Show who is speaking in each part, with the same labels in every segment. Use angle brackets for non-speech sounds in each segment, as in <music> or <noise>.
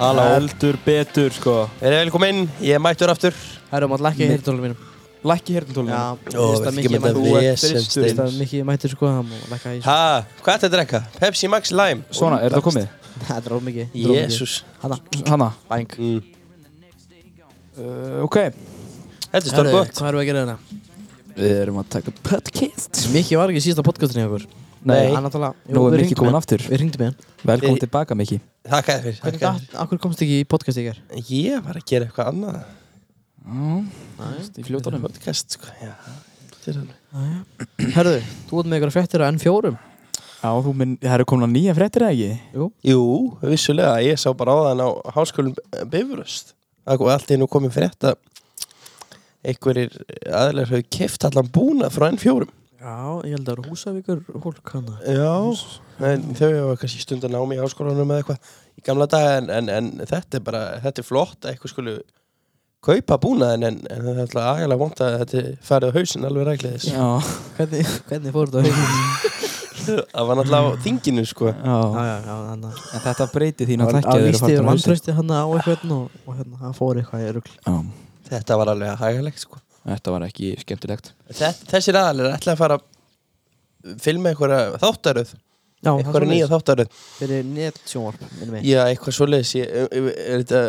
Speaker 1: Halló.
Speaker 2: Heldur betur, sko.
Speaker 1: Verið velkomin, ég er mættur aftur.
Speaker 3: Herra, maður lækka í
Speaker 2: Nei.
Speaker 3: hirtólum mínum.
Speaker 2: Lækki hérntólunum.
Speaker 3: Já,
Speaker 1: Ó,
Speaker 3: ég veist
Speaker 1: við
Speaker 3: að mikið
Speaker 1: getum þetta
Speaker 3: mættur.
Speaker 2: Þú ert
Speaker 1: vesen,
Speaker 2: þristur,
Speaker 3: Þú veist
Speaker 1: Steinn.
Speaker 3: að mikið mættur sko, það má lækka í
Speaker 1: Ha, hvað ætti að drekka? Pepsi Max Lime.
Speaker 2: Svona, er það komið?
Speaker 3: <laughs> Það er ómikið.
Speaker 1: Jésús.
Speaker 3: Hanna,
Speaker 2: Hanna.
Speaker 3: bæng.
Speaker 1: Mm.
Speaker 2: Uh, ok.
Speaker 1: Þetta er stór
Speaker 3: Herru,
Speaker 1: gott.
Speaker 3: Hvað erum við að gera hérna?
Speaker 2: Við erum að taka podcast.
Speaker 3: Mikið var ekki í síðasta podcastinni okkur.
Speaker 1: Nei.
Speaker 3: Hann náttúrulega. jú,
Speaker 2: Nú
Speaker 3: við
Speaker 2: er Mikki
Speaker 3: hringdum í
Speaker 2: komin
Speaker 3: hann.
Speaker 2: aftur.
Speaker 3: Við ringdum í hann.
Speaker 2: Velkomin
Speaker 1: Við-
Speaker 2: tilbaka, Mikki.
Speaker 1: Takk að þér. fyrir,
Speaker 3: Hvernig
Speaker 1: Takk að
Speaker 3: datt, akkur komst ekki í podcast í hér?
Speaker 1: þér. Ég var að gera eitthvað annað.
Speaker 2: Í fljótanum.
Speaker 1: Podcast, sko. Já. Þetta er alveg-
Speaker 3: Herru, þú ert með ykkur fréttir á N4.
Speaker 2: Já, þú minn, það eru komin að nýja fréttir, eða ekki?
Speaker 1: Jú, vissulega. Ég sá bara á þann á háskólum Bifröst. Það var allt einu komið frétt að einhverjir aðlar höfðu keft allan búna frá N4.
Speaker 3: Já, ég held að það eru húsavíkur hólk hana.
Speaker 1: Já. En þau hafa kannski stundan námi í háskólanum eða eitthvað í gamla daga en, en, en þetta er bara, þetta er flott að eitthvað skulu kaupa búnaðin en, en það er alltaf agalega vont að þetta er farið á hausinn alveg rækliðis.
Speaker 2: Já.
Speaker 3: Hvernig, hvernig fór þetta á haugum?
Speaker 1: Það var náttúrulega á þinginu sko.
Speaker 3: Já,
Speaker 2: Já.
Speaker 3: já, já, hann að.
Speaker 2: En þetta breyti þín að
Speaker 3: Hann
Speaker 2: þekkja
Speaker 3: að
Speaker 2: þeir
Speaker 3: vísti yfir vantrösti hann á eitthvað og, og hérna, hann fór eitthvað í rugl.
Speaker 2: Já.
Speaker 1: Þetta var alveg agalegt sko.
Speaker 2: Þetta var ekki skemmtilegt.
Speaker 1: Þetta, þessir aðalir ætla að fara að filma einhverja þáttaröð,
Speaker 3: Já, það er
Speaker 1: einhverja
Speaker 3: svoleiðis.
Speaker 1: nýja þáttaröð.
Speaker 3: Fyrir nettsjónvarp, minnum við.
Speaker 1: Já, eitthvað svoleiðis. Ég- Er er þetta,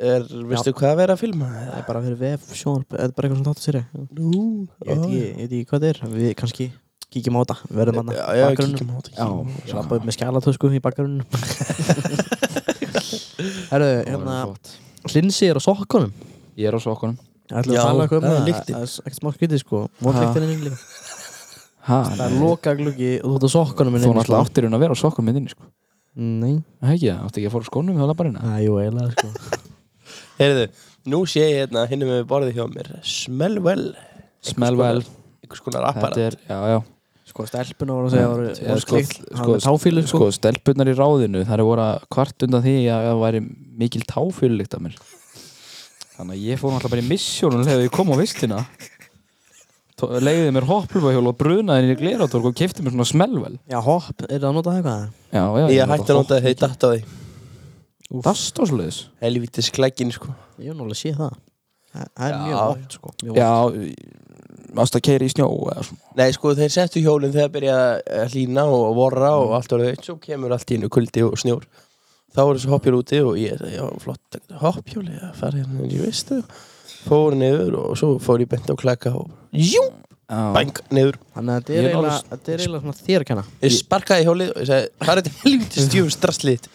Speaker 1: er, veistu hvað að vera að filma?
Speaker 3: Það er bara fyrir vef, sjónvarp, eða bara eitthvað svona þáttu sér. Ég
Speaker 1: Nú,
Speaker 3: veit ekki, ég veit ekki hvað það er, við kannski kíkjum á þetta, við verðum hann
Speaker 1: Já, já, kíkjum á þetta.
Speaker 3: Já,
Speaker 1: kíkjum á þetta.
Speaker 3: slappa upp með skjálatösku í bakgrunum. Herru, hérna, hlinsi er á sokkunum.
Speaker 2: Ég er á sokkunum.
Speaker 3: Ætlum við
Speaker 1: Já,
Speaker 3: að tala eitthvað um
Speaker 1: það er
Speaker 3: það,
Speaker 1: lyktin.
Speaker 3: það er ekkert smá skrítið sko, vonlíktin er inn líka.
Speaker 2: Ha,
Speaker 3: Það er loka gluggi og þú ert á sokkunum sko.
Speaker 2: Þú náttúrulega áttir hún að vera á sokkunum með þinni, sko.
Speaker 3: Nei,
Speaker 2: Það ekki, það átti ekki að fóra skónum með labbarina.
Speaker 3: það er jú eiginlega sko.
Speaker 1: Heyrðu, nú sé ég hérna hinn með borðið hjá mér Smellwell,
Speaker 2: Smell well.
Speaker 1: einhvers konar apparat
Speaker 2: Þetta er, já, já.
Speaker 3: Sko, stelpuna voru að segja, voru,
Speaker 2: Já,
Speaker 3: voru
Speaker 2: sko,
Speaker 3: slikt, hann
Speaker 2: sko,
Speaker 3: var með táfílu sko.
Speaker 2: sko, stelpunar í ráðinu þar er voru að kvart undan því að það væri mikil táfjölulikt af mér þannig að ég fór alltaf bara í missjónun þegar ég kom á vistina Tó- leiði mér hopplufahjól og brunaði henni í gleratorg og kefti mér svona smellvel
Speaker 3: Já, hopp, er það að nota það eitthvað?
Speaker 2: já, já,
Speaker 1: Ég hætti að nota þau datt á því
Speaker 2: dast og sluðis
Speaker 1: Helvítis klækin sko
Speaker 3: Ég hef náttúrulega séð það. Það það er
Speaker 1: Já.
Speaker 3: mjög oft sko. mjög
Speaker 2: já, mást að keira í snjó eða svona
Speaker 1: Nei sko þeir settu hjólinn þegar byrja að hlýna og vorra og allt orðið eitt Svo kemur allt í hennu kuldi og snjór Þá voru þessi hoppjól úti og ég sagði, já flott hoppjóli að fara hérna, ég veist það Fór niður og svo fór ég bent á klæka og jú,
Speaker 2: Já.
Speaker 1: bang, niður
Speaker 3: Þannig að þetta
Speaker 2: Ég
Speaker 3: er
Speaker 2: er
Speaker 3: eiginlega-
Speaker 2: alveg-
Speaker 3: þetta er eiginlega svona þér að kenna
Speaker 1: Ég sparkaði í hjólið og ég sagði, hvað er þetta helvítis djúfum strassliðt?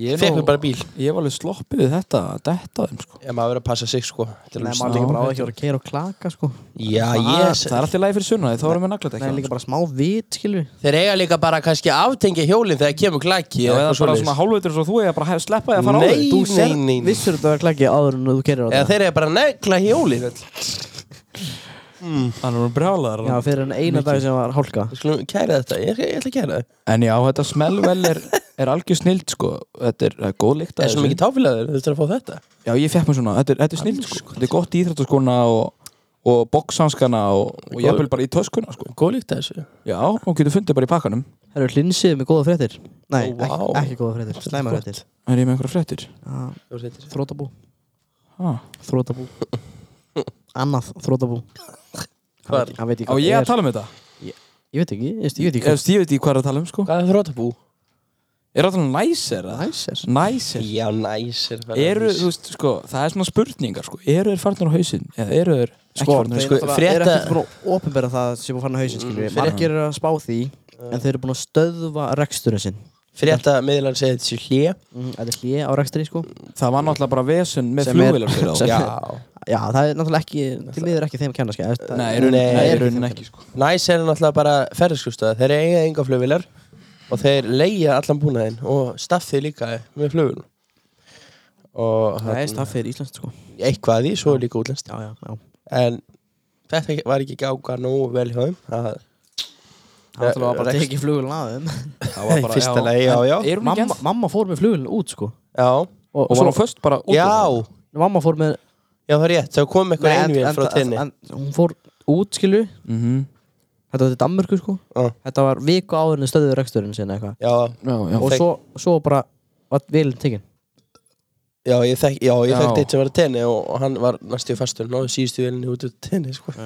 Speaker 2: ég, er
Speaker 1: Fekk
Speaker 2: nú-
Speaker 1: mér bara bíl
Speaker 2: ég var alveg sloppið við þetta að detta þeim sko
Speaker 1: Ég maður verið að passa sig sko Þetta er
Speaker 3: Nei,
Speaker 1: alveg
Speaker 3: maður
Speaker 1: sná-
Speaker 3: líka bara á ekki að vera að keira og klaka sko
Speaker 1: Já,
Speaker 2: það,
Speaker 1: ég
Speaker 2: það er alltaf lægi fyrir sunnaði, þá erum við naglat
Speaker 3: Nei, líka bara smá vit, skilju
Speaker 1: Þeir eiga líka bara kannski aftengja hjólinn þegar kemur klæki
Speaker 2: Já, eða bara svona hálfveitur svo þú eða bara hef- sleppa því að fara á
Speaker 1: Nei,
Speaker 2: þig.
Speaker 3: Þú sér,
Speaker 1: nei, nei.
Speaker 3: vissur þetta að vera klaki áður en þú keirir á
Speaker 1: Eða
Speaker 3: þetta
Speaker 1: þeir eiga bara að negla hjólinn öll.
Speaker 2: Hann er nú brjálaðar
Speaker 3: Já, fyrir en eina dag sem var hálka
Speaker 1: Við skulum kæra þetta, ég, ég ætla að kæra það
Speaker 2: En já, þetta smellvel er, er algjör snild sko Þetta er, það er góð líkt
Speaker 1: Það er svo mikið táfélagur, þú ætlar að fá þetta
Speaker 2: Já, ég fekk mér svona, þetta er, þetta er snild sko Þetta er gott í íþrættaskona og, og boxhanskana og, og ég bara í töskuna sko
Speaker 1: Góð líkt að þessu
Speaker 2: Já, og getur fundið bara í pakkanum
Speaker 3: Það eru hlinsið með góða fréttir Nei,
Speaker 1: Ó, vá.
Speaker 3: ekki, ekki góða fréttir, slæma
Speaker 1: Gott.
Speaker 3: fréttir
Speaker 2: Er ég með einhverja fréttir?
Speaker 3: Já,
Speaker 1: Þú setur þetta.
Speaker 3: Þrótabú,
Speaker 2: Ha.
Speaker 3: þrótabú Annað þrótabú
Speaker 1: Hvað
Speaker 3: Hann veit ekki
Speaker 2: Á
Speaker 3: hvað
Speaker 2: ég
Speaker 3: er
Speaker 2: að tala um þetta?
Speaker 3: Ég veit ekki, ég veist- ég veit
Speaker 2: Ég,
Speaker 3: ekki hvað
Speaker 2: ég veit í hvað er að tala um sko
Speaker 1: Hvað er þrótabú?
Speaker 2: Er það tala um næsir? eða?
Speaker 3: Æsir
Speaker 2: Næsir
Speaker 1: Já, næs er það
Speaker 2: Eru, þú veist, sko, það er svona spurningar sko Eru þeir farnir á hausinn? Eða eru þeir ekki
Speaker 3: Sko, þeir
Speaker 2: farnir á hausinn?
Speaker 1: sko,
Speaker 3: náttúrulega
Speaker 1: frétta-
Speaker 3: eru ekkert búin að ofinbera það sem búin að fanna hausin, skilju.
Speaker 1: Mm,
Speaker 3: Margir eru að spá því, en þeir eru búin að stöðva reksturinn sinn.
Speaker 1: Frétta miðlan segir þetta sé hlje
Speaker 3: Mm, Þetta er hlið á rekstri, sko.
Speaker 2: Það var náttúrulega bara vesen með
Speaker 3: Sem er-
Speaker 2: flugvilar fyrir þá
Speaker 3: sem-
Speaker 1: Já
Speaker 3: Já, það er náttúrulega ekki, til miður ekki þeim að kenna, sko. skilju. Það-
Speaker 2: Nei, í rauninni-
Speaker 1: Nei, er
Speaker 2: nei, í
Speaker 1: ekki
Speaker 2: rauninni ekki sko
Speaker 1: Næs er náttúrulega bara ferðarskjóstaða Þeir eiga enga flugvilar Og þeir leigja allan búnaðinn Og staffið líka með flugvil Og hérna,
Speaker 3: Það er staffið er íslenskt, sko.
Speaker 1: eitthvað af því, svo er líka útlenskt
Speaker 3: Já, já, já.
Speaker 1: en þetta var ekki gáka nógu vel hjá þeim að
Speaker 3: Það var náttúrulega bara að
Speaker 1: Rekst-
Speaker 3: teki flugulun að þeim.
Speaker 2: Það
Speaker 1: <laughs>
Speaker 2: var
Speaker 1: Í fyrsta lagi, já, já.
Speaker 2: Er hún ekki
Speaker 3: Mamma,
Speaker 2: enn?
Speaker 3: mamma fór með flugulun út, sko.
Speaker 1: já,
Speaker 2: Og var hún fyrst bara út?
Speaker 1: já,
Speaker 3: Mamma fór með...
Speaker 1: já það er rétt þá kom eitthvað
Speaker 3: Nei, en-
Speaker 1: einvél
Speaker 3: en-
Speaker 1: frá tenni
Speaker 3: en- en Hún fór út, skilju.
Speaker 2: mm
Speaker 1: Mhm.
Speaker 2: -hmm.
Speaker 3: Þetta var til Danmörku, sko.
Speaker 1: Já.
Speaker 3: Þetta var viku áður en þeir stöðuðu reksturinn sinn, eitthvað.
Speaker 1: já,
Speaker 2: já, já
Speaker 3: Og
Speaker 1: Þeir-
Speaker 3: svo, svo bara var vilin tekin.
Speaker 1: Já, ég, þekk, já, ég
Speaker 2: Já.
Speaker 1: þekkti eitt sem var að tenni og og hann var næstu fastur, náðu síðustu velinni út úr tenni, sko.
Speaker 3: Já.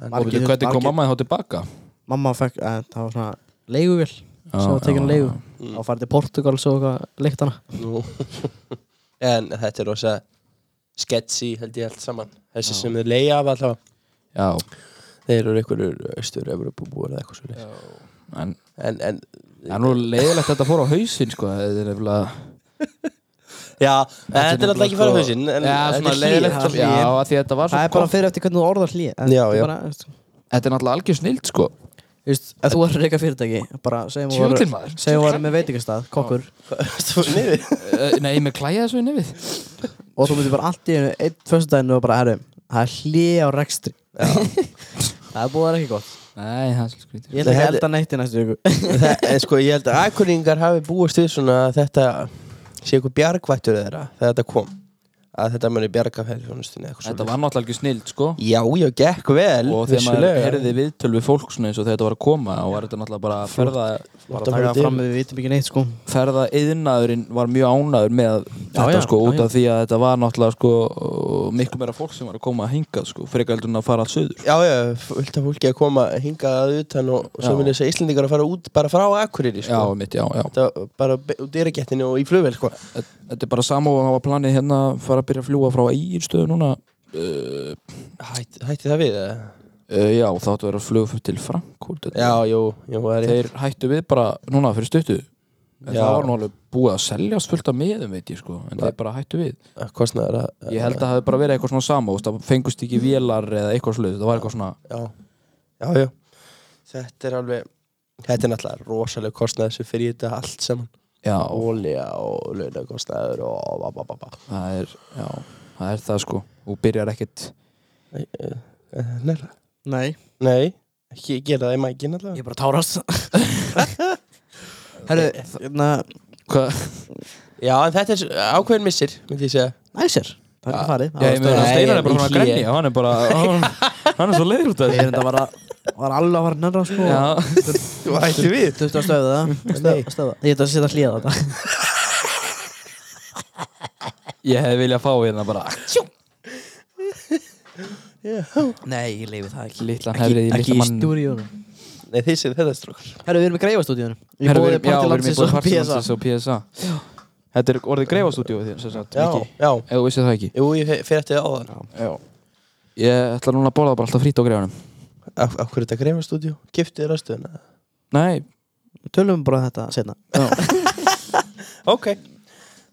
Speaker 1: Hann,
Speaker 2: Og
Speaker 3: Margir-
Speaker 2: veitu, hvernig kom
Speaker 3: margir-
Speaker 2: mamma þá tilbaka?
Speaker 3: Mamma fekk, eh, það var svona leiguvél
Speaker 2: Já,
Speaker 3: sem var tekin
Speaker 2: já,
Speaker 3: á leigu
Speaker 1: já.
Speaker 3: og farið til Portugal svo eitthvað leikt hana
Speaker 1: nú. <laughs> en þetta er rosa sketchy, held ég, allt saman. Þessi
Speaker 3: Já.
Speaker 1: sem þau leiða af allavega.
Speaker 2: Já,
Speaker 1: Þeir eru einhverjur austur Evropabúar eða eitthvað svolítið.
Speaker 2: en
Speaker 1: En, en,
Speaker 2: það er nú leiðilegt að þetta fór á hausinn sko, þetta er nefnilega
Speaker 1: já, en þetta er alltaf ekki fara
Speaker 2: sko-
Speaker 1: hausinn, en
Speaker 2: Já,
Speaker 1: þetta
Speaker 2: svona
Speaker 1: er <laughs>
Speaker 2: leiðilegt
Speaker 1: hlýð.
Speaker 2: að- Já, af því að þetta var svo
Speaker 3: Það er bara fyrir eftir hvernig þú orðar hlýð
Speaker 1: Já, já.
Speaker 2: Þetta er náttúrulega algjör snild sko
Speaker 3: Þú veist, ef þú var að reyka fyrirtæki bara segjum þú
Speaker 2: Tjóðin
Speaker 3: var-
Speaker 2: maður
Speaker 3: segjum þú var með veitingastað, kokkur
Speaker 1: Þú veist, niður.
Speaker 2: Eh, Nei, með klæja þessu í nefið
Speaker 3: og þú myndir bara allt í einu, einn föstudaginu og bara herrum, það er hlýð á rekstri <laughs> Það er búið að vera ekki gott
Speaker 2: Nei, það er svo skrítið
Speaker 3: Ég ætla ekki
Speaker 1: Þetta-
Speaker 3: að elda neitt í næstu viku
Speaker 1: Það- en sko ég held að akkuringar hafi búist við svona að þetta sé eitthvað bjargvættur þeirra þegar þetta kom að þetta muni bjarga ferðjónustinni eitthvað
Speaker 2: Þetta
Speaker 1: svona
Speaker 2: var náttúrulega algjör snild sko
Speaker 1: já, já, gekk vel
Speaker 2: Og þegar maður heyrði viðtöl við fólk svona eins og þegar þetta var að koma og var þetta náttúrulega bara að ferða
Speaker 3: Bara taka það fram, við vitum ekki neitt sko
Speaker 2: ferða yðnaðurinn var mjög ánæður með þetta
Speaker 3: já,
Speaker 2: sko
Speaker 3: já,
Speaker 2: út af því að þetta var náttúrulega sko miklu meira fólk sem var að koma að hinga sko frekar heldur en að fara alls söður
Speaker 1: já, já, fullt af fólki að koma hingað að utan og og svo
Speaker 2: Já.
Speaker 1: muni þessi Íslendingar að fara út bara frá akkuriri
Speaker 2: Já,
Speaker 1: sko.
Speaker 2: mitt, já, já
Speaker 1: Þetta var bara be- út í regettinu og í flugvel sko.
Speaker 2: Þetta er bara sama og hafa planið hérna að fara að byrja að fljúa frá Egilstöðu núna uh,
Speaker 1: Hætti, hætti það við? eða?
Speaker 2: uh, Já, þá áttu að vera að fljúa til Frankúrt
Speaker 1: Já, jú, jú, það er
Speaker 2: Þeir hættu við bara núna fyrir stuttu En
Speaker 1: Já.
Speaker 2: það var nú alveg búið að seljast fullt af miðum veit ég sko En þeir bara hættu við
Speaker 1: að kostnaður að
Speaker 2: Ég held að það hefði bara verið eitthvað svona sama þú veist, Það fengust ekki vélar eða eitthvað sluð Það var eitthvað svona
Speaker 1: já, já, já þetta er alveg þetta er náttúrulega rosalega kostnaður sem fyrir þetta allt saman
Speaker 2: Já,
Speaker 1: ólja og launakostnaður og ba, ba, ba, ba.
Speaker 2: það er, já, það, er það sko Þú byrjar ekkit
Speaker 1: Nei,
Speaker 3: Nei,
Speaker 1: eh, nei, ekki gera það í mækin alltaf
Speaker 3: ég er bara að tárast
Speaker 1: <laughs>
Speaker 3: Herru, hérna,
Speaker 2: Hva?
Speaker 1: Já, en þetta er ákveðin missir, myndi ég segja
Speaker 3: næsir Það er ekki farið
Speaker 2: Já, ég meina
Speaker 1: Nei,
Speaker 2: Steinar
Speaker 1: en
Speaker 2: er
Speaker 1: í
Speaker 2: bara svona að
Speaker 1: hlé.
Speaker 2: grenja Hann er <laughs> bara, hann, hann er svo leiður út
Speaker 3: Ég
Speaker 2: af þessu.
Speaker 3: er enda bara, var alveg að fara nærra sko
Speaker 2: Já,
Speaker 1: Þú ætti við
Speaker 3: Þú veist að stöða það
Speaker 1: Nei.
Speaker 3: Stöða- Stöða Ég ætla að setja hlýða þetta
Speaker 2: ég hefði viljað fá hérna bara
Speaker 3: Nei, ég leifi það ekki
Speaker 2: Lítlan hefrið í
Speaker 3: Ekki
Speaker 2: lítlan
Speaker 3: í
Speaker 2: mann
Speaker 3: stúdíunum
Speaker 1: Nei, þið séð þetta strókar
Speaker 3: Herru, við erum í greifastúdíunum Í
Speaker 2: Herra,
Speaker 3: bóði
Speaker 2: við- já, við erum í
Speaker 3: partilandsins
Speaker 2: bóði
Speaker 3: og PSA
Speaker 2: Partilandsins og PSA Þetta er orðið greifastúdíu þér, sem sagt,
Speaker 1: Já,
Speaker 2: Viki
Speaker 1: já,
Speaker 2: Ef þú vissið það ekki
Speaker 1: jú, ég fer- fer eftir það áðan
Speaker 2: Já Ég ætla núna að bóla það bara alltaf frýtt á greifanum
Speaker 1: Af, af hverju þetta greifastúdíu? Giftið rastöðuna?
Speaker 2: Nei,
Speaker 3: Tölum um bara þetta setna
Speaker 2: <laughs> já
Speaker 1: Ok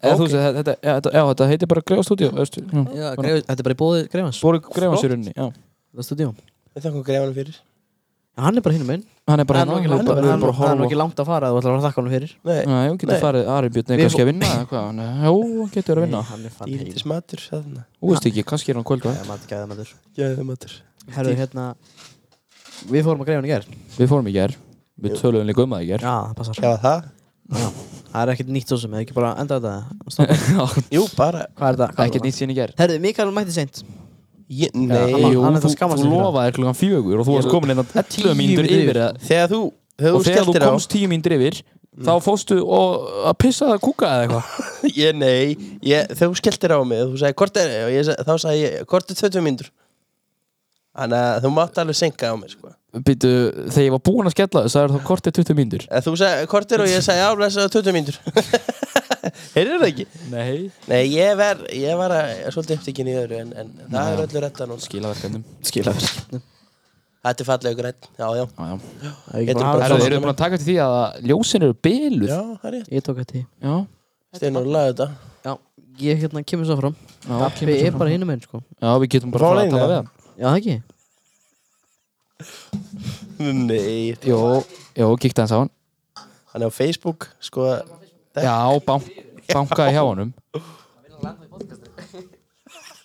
Speaker 2: Eða þú veist, þetta, já, þetta, já, þetta heitir bara greifastúdíu veistu, já.
Speaker 3: Já, greif, þetta er bara í bóði greifans
Speaker 2: Bóri greifans í rauninni, já
Speaker 3: Það er stúdíum
Speaker 1: Við þakkum greifanum fyrir
Speaker 3: Hann er bara hinum minn
Speaker 2: Hann er bara
Speaker 3: Hann er
Speaker 2: hérna,
Speaker 3: nú
Speaker 2: hann
Speaker 3: ekki langt-
Speaker 2: er bara
Speaker 3: hann-
Speaker 2: bara að
Speaker 3: hann er nú
Speaker 2: horfa
Speaker 3: ekki langt að fara Þú ætlar að þakka hann fyrir
Speaker 1: Nei,
Speaker 2: Nei, hún getur
Speaker 1: Nei.
Speaker 2: farið, Ari Björn er
Speaker 1: Við-
Speaker 2: kannski að vinna eða hvað, hann er- Jó, hann getur verið að vinna
Speaker 3: Hann er fann heil
Speaker 1: dýrindis matur þarna
Speaker 2: Þú veist ekki, kannski er hann kvöld
Speaker 3: Það er maður gæðið maður
Speaker 1: Gæðið matur
Speaker 3: Herru, hérna Við fórum að greifa hann í gær
Speaker 2: Við fórum í ger, við töluðum líka um það í ger
Speaker 3: Já, það passar
Speaker 1: Já, það?
Speaker 3: Það er ekkert nýtt svo sem, eða ekki bara enda þetta Stoppa.
Speaker 1: Jú, bara
Speaker 3: Hvað er þetta? Hvað er
Speaker 2: Ekkert
Speaker 3: þetta?
Speaker 2: nýtt síðan í ger
Speaker 3: Herru, Mikael mætti seint
Speaker 1: ég,
Speaker 3: hann
Speaker 1: Nei
Speaker 3: var-
Speaker 2: Jú,
Speaker 3: hann er það
Speaker 2: þú,
Speaker 3: skammast
Speaker 2: þú
Speaker 3: sín fyrir.
Speaker 2: lofaðir klukkan fjögur og þú varst komin hérna 11 mínútur
Speaker 3: mínútur
Speaker 2: yfir eða-
Speaker 1: Þegar þú, þegar
Speaker 2: og
Speaker 1: þú
Speaker 2: þegar þú
Speaker 1: skelltir á
Speaker 2: komst 10 mínútur yfir þá fóstu og að pissa það að kúka eða eitthvað
Speaker 1: <laughs> Ég, nei, ég, þegar þú skelltir á mig þú sagði hvort er og ég, sa- þá sagði ég hvort er 20 mínútur þannig að þú mátt alveg senka á mig sko.
Speaker 2: Býtu, þegar ég var búinn að skella þess að það er þá kortið 20 mínútur
Speaker 1: Eða þú sagði hvort er og ég sagði aflæsa 20 mínútur <laughs> heyrðu það ekki
Speaker 2: Nei
Speaker 1: nei, ég var, ég var að, svolítið upptíkin í öðru en, en það
Speaker 2: Já.
Speaker 1: er öllu retta núna
Speaker 2: Skilaverkefnum
Speaker 3: Skilaður
Speaker 1: þetta er fallega grætt, já, já
Speaker 2: Já, já
Speaker 3: Ég,
Speaker 1: Getur bara-
Speaker 2: Eru
Speaker 1: svona-
Speaker 2: þið búin að taka til því að ljósin eru byluð?
Speaker 1: já, það er rétt,
Speaker 3: ég tók þetta í
Speaker 2: Já
Speaker 1: steinu að laga þetta
Speaker 3: Já, ég hérna kemur svo fram
Speaker 2: Já,
Speaker 3: Appi er bara hinum einn sko
Speaker 2: Já, við getum bara
Speaker 1: Frá
Speaker 2: farið að
Speaker 1: leiðinni,
Speaker 2: tala
Speaker 1: eða?
Speaker 2: við hann
Speaker 3: Já, það ekki?
Speaker 1: nei,
Speaker 2: Jó, jó, kíkta hans á hann
Speaker 1: hann er á Facebook sko,
Speaker 2: Já, bank, bankaði hjá honum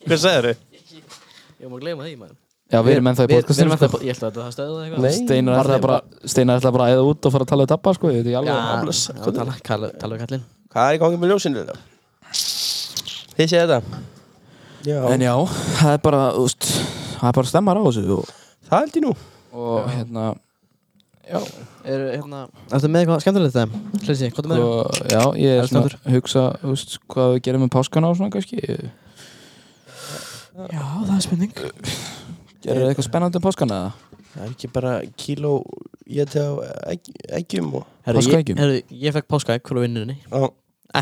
Speaker 1: hvað sagður þau?
Speaker 3: Ég má gleyma því, maður
Speaker 2: Já, við erum ennþá í podcastinu sko. með það
Speaker 3: Ég held að það stöðu eitthvað
Speaker 1: Nei,
Speaker 2: Steinar ætlaði bara Steinar ætlaði bara að eða út og fara að tala við dabba sko Ég veit ekki alveg
Speaker 3: Já,
Speaker 1: blessa,
Speaker 3: já,
Speaker 1: hvað er
Speaker 3: tala, tala, tala við kallinn
Speaker 1: hvað er í gangi með ljósinu þeirra? þið séð þetta? já,
Speaker 2: En já, það er bara, úst, það er bara stemmar á þessu og,
Speaker 1: það held ég nú
Speaker 2: og hérna Já,
Speaker 3: Er, hérna, Ertu með eitthvað skemmtilegt þeim? Hlýsi, hvað er með
Speaker 2: sko,
Speaker 3: það?
Speaker 2: já ég er
Speaker 3: Ertu
Speaker 2: svona að hugsa þú veist, hvað við gerum með páskana og svona kannski
Speaker 3: Já, það er spurning
Speaker 2: Gerir það eitthvað spennandi um páskana? eða?
Speaker 1: Það er ekki bara kíló ég til á egg, eggjum og
Speaker 3: Herru, ég,
Speaker 2: Páskaeggjum?
Speaker 3: herru, ég fekk páskaegg frá vinnurinni
Speaker 1: á,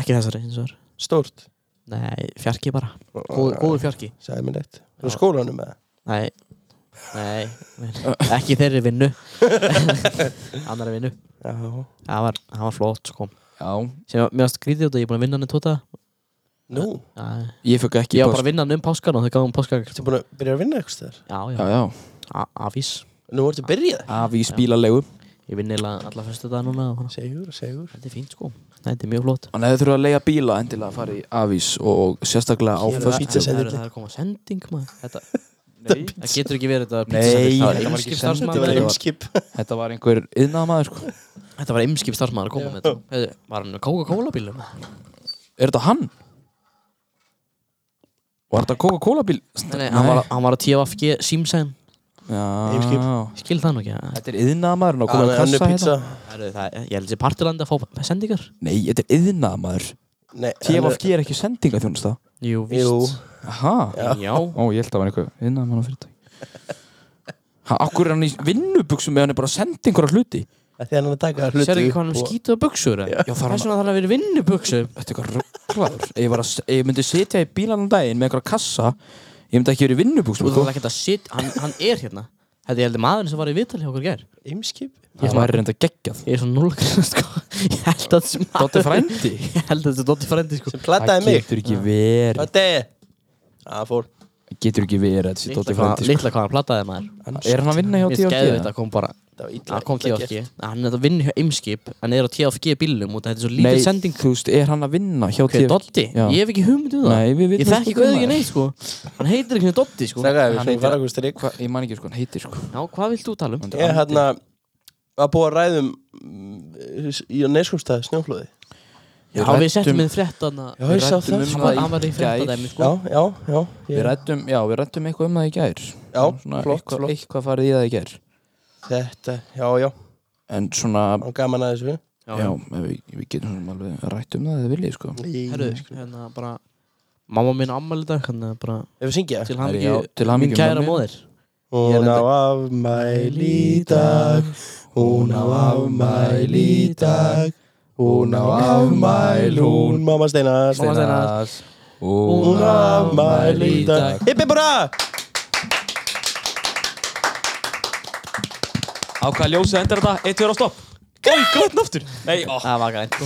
Speaker 3: Ekki þessari, eins og það
Speaker 1: stórt.
Speaker 3: Nei, fjarki bara Góð, Góður fjarki
Speaker 1: Sæði mér neitt. Frá skólanum með það.
Speaker 3: Nei, nei, nei.
Speaker 2: <laughs>
Speaker 3: Ekki þeirri vinnu <laughs> Annari vinnu
Speaker 1: Já.
Speaker 3: Það var, það var flott, sko
Speaker 2: Já,
Speaker 3: Sem var, mér varst grítið út að ég er búin að vinna hann í tóta
Speaker 1: Nú,
Speaker 3: Ég
Speaker 2: ég fekk ekki
Speaker 3: var
Speaker 2: pásk-
Speaker 3: bara að vinna hann um páskan og þau gafum páskaegg
Speaker 1: ertu búin að byrja að vinna eitthvað þér?
Speaker 3: Já, já,
Speaker 2: Já, já,
Speaker 3: A- afís
Speaker 1: Nú ertu byrjað.
Speaker 2: af í spílalegu
Speaker 3: Ég vinn eiginlega alla fyrstu dag núna og hana.
Speaker 1: Segur, segur.
Speaker 3: Þetta er fínt, sko Þetta er mjög flott
Speaker 2: Þannig að þið þurfa að leiða bíla endilega að fara í afís og sérstaklega á
Speaker 1: Gera
Speaker 3: Það
Speaker 2: föstu
Speaker 1: pizza
Speaker 3: það- það er
Speaker 1: sendingu.
Speaker 3: það er að koma sending maður <laughs> Þetta,
Speaker 2: Nei,
Speaker 3: það getur ekki verið þetta
Speaker 2: Nei,
Speaker 3: pizzasendir.
Speaker 2: það var
Speaker 3: þetta var
Speaker 2: einskip
Speaker 3: ekki
Speaker 1: Þetta var einskip.
Speaker 3: starfsmaður
Speaker 2: sending. var- þetta var einhver yðnaðamaður sko.
Speaker 3: Þetta var ymskip starfsmaður að koma með þetta Hefðu, Var hann með Coca-Cola bílum?
Speaker 2: Er þetta hann? Var þetta Coca-Cola bíl?
Speaker 3: Nei, nei, hann var, hann var að TFG Simsen
Speaker 1: Eimskip.
Speaker 2: Já,
Speaker 3: Skil það nú ekki ja.
Speaker 2: þetta er yðnaðamaður og komið
Speaker 1: Hann
Speaker 2: að
Speaker 1: er
Speaker 2: kassa
Speaker 1: pizza.
Speaker 2: hérna
Speaker 3: Herru, það, Ég held þessi partilandi að fá sendingar
Speaker 2: Nei, þetta er yðnaðamaður
Speaker 1: Nei, hann er-
Speaker 2: TFG er ekki sendinga þjónusta
Speaker 3: Jú, víst
Speaker 1: Jú.
Speaker 2: Aha,
Speaker 3: Já, Já.
Speaker 2: ó ég held að það var einhver yðnaðamann á fyrirtæk Ha, akkur er hann í vinnubuxum eða hann er bara að senda einhverja hluti
Speaker 1: Af Því að hann er að taka hluti.
Speaker 3: Sér ekki
Speaker 1: upp
Speaker 3: hvað hann er
Speaker 1: og-
Speaker 3: skítið á buksur
Speaker 1: Já.
Speaker 2: Já,
Speaker 3: Þess
Speaker 2: þarf hann-
Speaker 3: vegna þarf hann að vera vinnubuksur
Speaker 2: Þetta er eitthvað rugglaður Ef ég, var að, ef ég myndi sitja í bílanum daginn með einhverja kassa Ég myndi ekki verið í vinnubuxum
Speaker 3: Þú
Speaker 2: sko.
Speaker 3: þarf ekki að sitt, hann, hann er hérna Þetta er heldur maðurinn sem var í viðtali hjá okkur í gær
Speaker 1: Eimskip?
Speaker 2: Það væri reynda geggjað
Speaker 3: Ég er svona núlgrinn <laughs> sko Ég held að þessi maður
Speaker 2: Dóttir frændi
Speaker 3: Ég held að þessi Dotti frendi sko
Speaker 1: Sem plattaði mig.
Speaker 2: getur ekki verið
Speaker 1: Þetta er. Það fór.
Speaker 2: Getur ekki verið að þessi
Speaker 3: Litla
Speaker 2: Dóttir
Speaker 3: hvað,
Speaker 2: frændi sko.
Speaker 3: litla hvað hann plataði maður
Speaker 2: Er hann að vinna hjá
Speaker 3: Mér
Speaker 2: TFG?
Speaker 3: skæði þetta kom bara
Speaker 1: Það var illa.
Speaker 3: Hann kom
Speaker 1: illa
Speaker 3: TFG
Speaker 1: gert.
Speaker 3: Hann er þetta vinn hjá Eimskip Hann er á TFG bílum og þetta er svo
Speaker 2: Nei,
Speaker 3: lítil sending
Speaker 2: þú veist, er hann að vinna hjá
Speaker 3: Hver er
Speaker 2: TFG?
Speaker 3: Dotti?
Speaker 2: Já.
Speaker 3: Ég hef ekki hugmynd um það
Speaker 2: Nei, við
Speaker 3: Ég
Speaker 2: vitum
Speaker 3: þekki
Speaker 2: hver
Speaker 3: gauð ekki
Speaker 2: maður er.
Speaker 3: neitt sko Hann heitir ekki Dotti sko
Speaker 1: Strákar, við
Speaker 2: Hann
Speaker 1: skulum
Speaker 2: heitir-
Speaker 1: fara okkur strik.
Speaker 2: Hva, Ég man ekki sko, hann heitir sko
Speaker 3: Já, hvað vilt þú tala um?
Speaker 1: Ég er hérna að búa að ræðum mm, í neyskumstæði snjóflóði.
Speaker 3: Já,
Speaker 2: Við
Speaker 3: við settum
Speaker 2: ræddum-
Speaker 3: við frétt þarna
Speaker 1: Já, ég sá
Speaker 2: ræddum
Speaker 1: það,
Speaker 2: um
Speaker 1: sko.
Speaker 2: það í
Speaker 3: Hann var í
Speaker 2: gær.
Speaker 3: frétt dæmi sko
Speaker 1: Já, já, já.
Speaker 2: Við
Speaker 1: Ég,
Speaker 2: rættum, já, við rættum eitthvað um það í gær
Speaker 1: já,
Speaker 2: Svona
Speaker 1: flott,
Speaker 2: eitthvað,
Speaker 1: flott.
Speaker 2: eitthvað farið í það í gær
Speaker 1: Þetta, já, já.
Speaker 2: En svona,
Speaker 1: Og gaman að þessu.
Speaker 2: já, ef við, við getum svona alveg rætt um það eða viljið sko
Speaker 3: Herru, hérna bara Mamma mín ammali dag, hann er bara
Speaker 1: Ef við syngja.
Speaker 3: til
Speaker 2: Herru,
Speaker 3: hann
Speaker 2: já, til hamingju,
Speaker 3: Mín kæra
Speaker 2: mamma mín.
Speaker 3: móðir
Speaker 1: Hún á afmæli í dag, hún á afmæli í dag, hún á afmæli, hún mamma Steinar.
Speaker 3: Mamma Steinar.
Speaker 1: Hún á afmæli í dag. Hippi bara!
Speaker 2: Á hvaða ljósið endur þetta? Eitt, tjóra, stopp Gói, græn aftur Nei, ó
Speaker 3: Það var gænt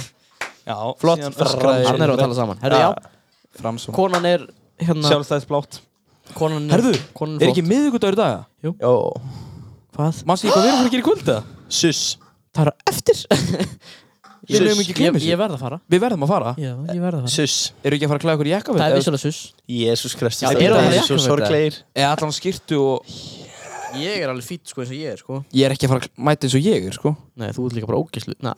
Speaker 2: Já,
Speaker 1: Flott,
Speaker 2: síðan
Speaker 1: fram-
Speaker 3: Hann
Speaker 2: öskraði
Speaker 3: er að tala saman Herru,
Speaker 1: Já.
Speaker 3: já,
Speaker 2: Framsson
Speaker 3: konan er hérna
Speaker 2: Sjálfstæðisblátt
Speaker 3: konan er,
Speaker 2: Herðu,
Speaker 3: konan
Speaker 2: Er ekki miðugudagur í dag?
Speaker 1: Jó,
Speaker 3: Hvað?
Speaker 2: Manstu ekki hvað við erum að fara að gera í kvölda?
Speaker 1: suss.
Speaker 3: Það er á eftir
Speaker 2: Við erum ekki að glemja
Speaker 3: Ég-
Speaker 2: sér
Speaker 3: Ég verð að fara
Speaker 2: Við verðum að fara
Speaker 3: Já, ég verð að fara
Speaker 1: Suss.
Speaker 2: Eru ekki að fara að klæða okkur í jakkavel?
Speaker 3: Það er vissulega sus
Speaker 1: Jésús Kristus,
Speaker 3: Já,
Speaker 1: þetta
Speaker 3: eru það
Speaker 1: er svo
Speaker 3: jakkaföt,
Speaker 1: sorgleir.
Speaker 2: Eða allan skýrtu og
Speaker 3: Ég er alveg fýtt sko eins og ég er sko
Speaker 2: Ég er ekki að fara að mæta eins og ég er sko
Speaker 3: Nei, þú ert líka bara ógæslu Nei,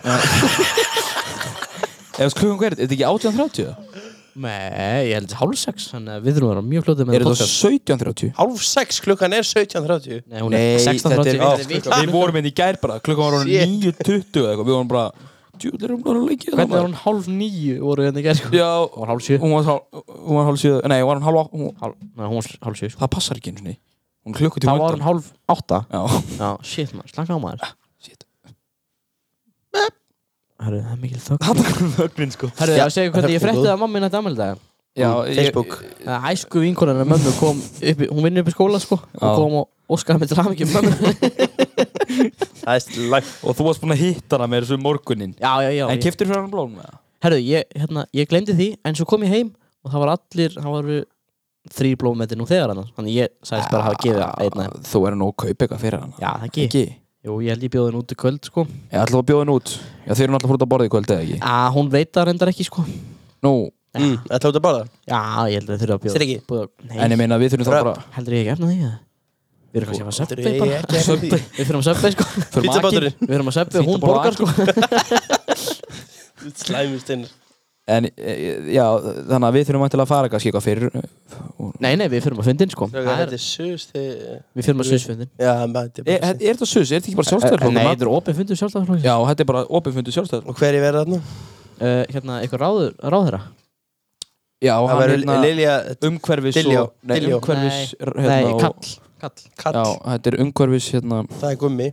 Speaker 2: Eða veist klukkan hvað er þetta? Er þetta ekki 18.30?
Speaker 3: Nei, ég held þetta hálfsex Þannig að við þurfum að vera mjög fljótið með
Speaker 2: Er þetta 17.30?
Speaker 1: Hálf sex klukkan er 17.30.
Speaker 3: Nei, hún er 16.30
Speaker 2: þetta er-
Speaker 3: Við-
Speaker 2: Við vorum hérna í gær bara Klukkan var orðin 9.20 eða eitthvað Við vorum bara Djúlir erum bara að leikja
Speaker 3: Hvernig er hún hálf nýju voru hérna í gerð sko
Speaker 2: hérna?" Já
Speaker 3: Hún var hálf sjö
Speaker 2: Hún var hálf Hún var hálf sjöðu Nei, var hún hálf hún,
Speaker 3: Hálf- Nei, hún var hálf sjö sko
Speaker 2: Það passar ekki eins og ný Hún klukkutíma
Speaker 3: Það var
Speaker 2: undan.
Speaker 3: hún hálf átta
Speaker 2: Já
Speaker 3: Já, shit maður, slaka á maður
Speaker 2: Shit
Speaker 3: Herru, það er mikil þögn
Speaker 2: Þetta er hún ögnin sko
Speaker 3: Herru, já, segja hvernig ég
Speaker 1: Það er
Speaker 3: fréttið að mamma minna þetta ammæli dag
Speaker 2: Já
Speaker 1: Hún- Facebook.
Speaker 3: að æsku vinkonarinn að mömmu kom upp, í- hún vinnur upp í skóla sko og
Speaker 2: Já.
Speaker 3: kom og óskaði mig til hamingi mömmu
Speaker 1: Það er langt.
Speaker 2: Og þú varst búin að hitta hana með þessu morgunin
Speaker 3: <laughs> já, já, já
Speaker 2: En
Speaker 3: ég,
Speaker 2: keftir fyrir hann blóm með það
Speaker 3: herru, ég, hérna, ég glemdi því en svo kom ég heim og það var allir það var þrý blómmetir nú þegar hann þannig ég sagðist bara að hafa gefið einna þeim.
Speaker 2: Ah, Þú er nú að kaupa eitthvað fyrir hana
Speaker 3: já, það ekki
Speaker 2: Ekki
Speaker 3: jú, ég held ég bjóði henn út í kvöld sko
Speaker 2: Ég ætla að bjóða henn út Já þeir eru náttúrulega fórt að borða í kvöld eða ekki
Speaker 3: að Ah, hún veit það reyndar ekki sko
Speaker 2: Nú
Speaker 1: Mm, Þetta áttu að báða.
Speaker 3: já, ég held að þurfa að bjóða
Speaker 1: Sér ekki?
Speaker 3: bjóða,
Speaker 2: En
Speaker 3: nei,
Speaker 2: ég meina við þurfum þá
Speaker 1: Röp.
Speaker 2: bara
Speaker 3: heldur ég ekki efna því eða? við erum kannski að fara söppi bara
Speaker 1: Söppi.
Speaker 3: við þurfum að söppi sko
Speaker 2: Förum að
Speaker 1: Pizza
Speaker 2: Aki.
Speaker 1: báturinn.
Speaker 3: við erum að söppi og
Speaker 2: Fínt að
Speaker 3: hún
Speaker 2: borða
Speaker 3: borgar sko
Speaker 1: Slæmustinn.
Speaker 2: En e, já, þannig að við þurfum að fara kannski eitthvað e, fyrr
Speaker 3: Nei, nei, við fyrir maður fundin sko
Speaker 1: Strákar,
Speaker 3: Það
Speaker 1: Þetta
Speaker 3: er-
Speaker 1: er sus þið
Speaker 3: Við fyrir maður sviðsfundin
Speaker 1: Já, maður
Speaker 2: Er, er Eh, þetta sus, er þetta ekki bara sjálfstæðarflokkur?
Speaker 3: Nei, þetta er opið fundur sjálfstæðarflokksins
Speaker 2: Já, þetta er bara opinfundu sjálfstæðarflokkur
Speaker 1: Og hver er verið þarna?
Speaker 3: uh, Hérna, eitthvað ráður, ráðherra
Speaker 2: Já,
Speaker 1: Það
Speaker 2: hann
Speaker 1: verður
Speaker 2: hérna
Speaker 1: Lilja
Speaker 2: umhverfis
Speaker 1: Diljá,
Speaker 2: og, Nei,
Speaker 1: Diljá.
Speaker 2: umhverfis hérna,
Speaker 3: Nei,
Speaker 2: og-
Speaker 3: kall, kall.
Speaker 2: Já,
Speaker 1: Kall,
Speaker 2: þetta er umhverfis hérna
Speaker 1: það er gummi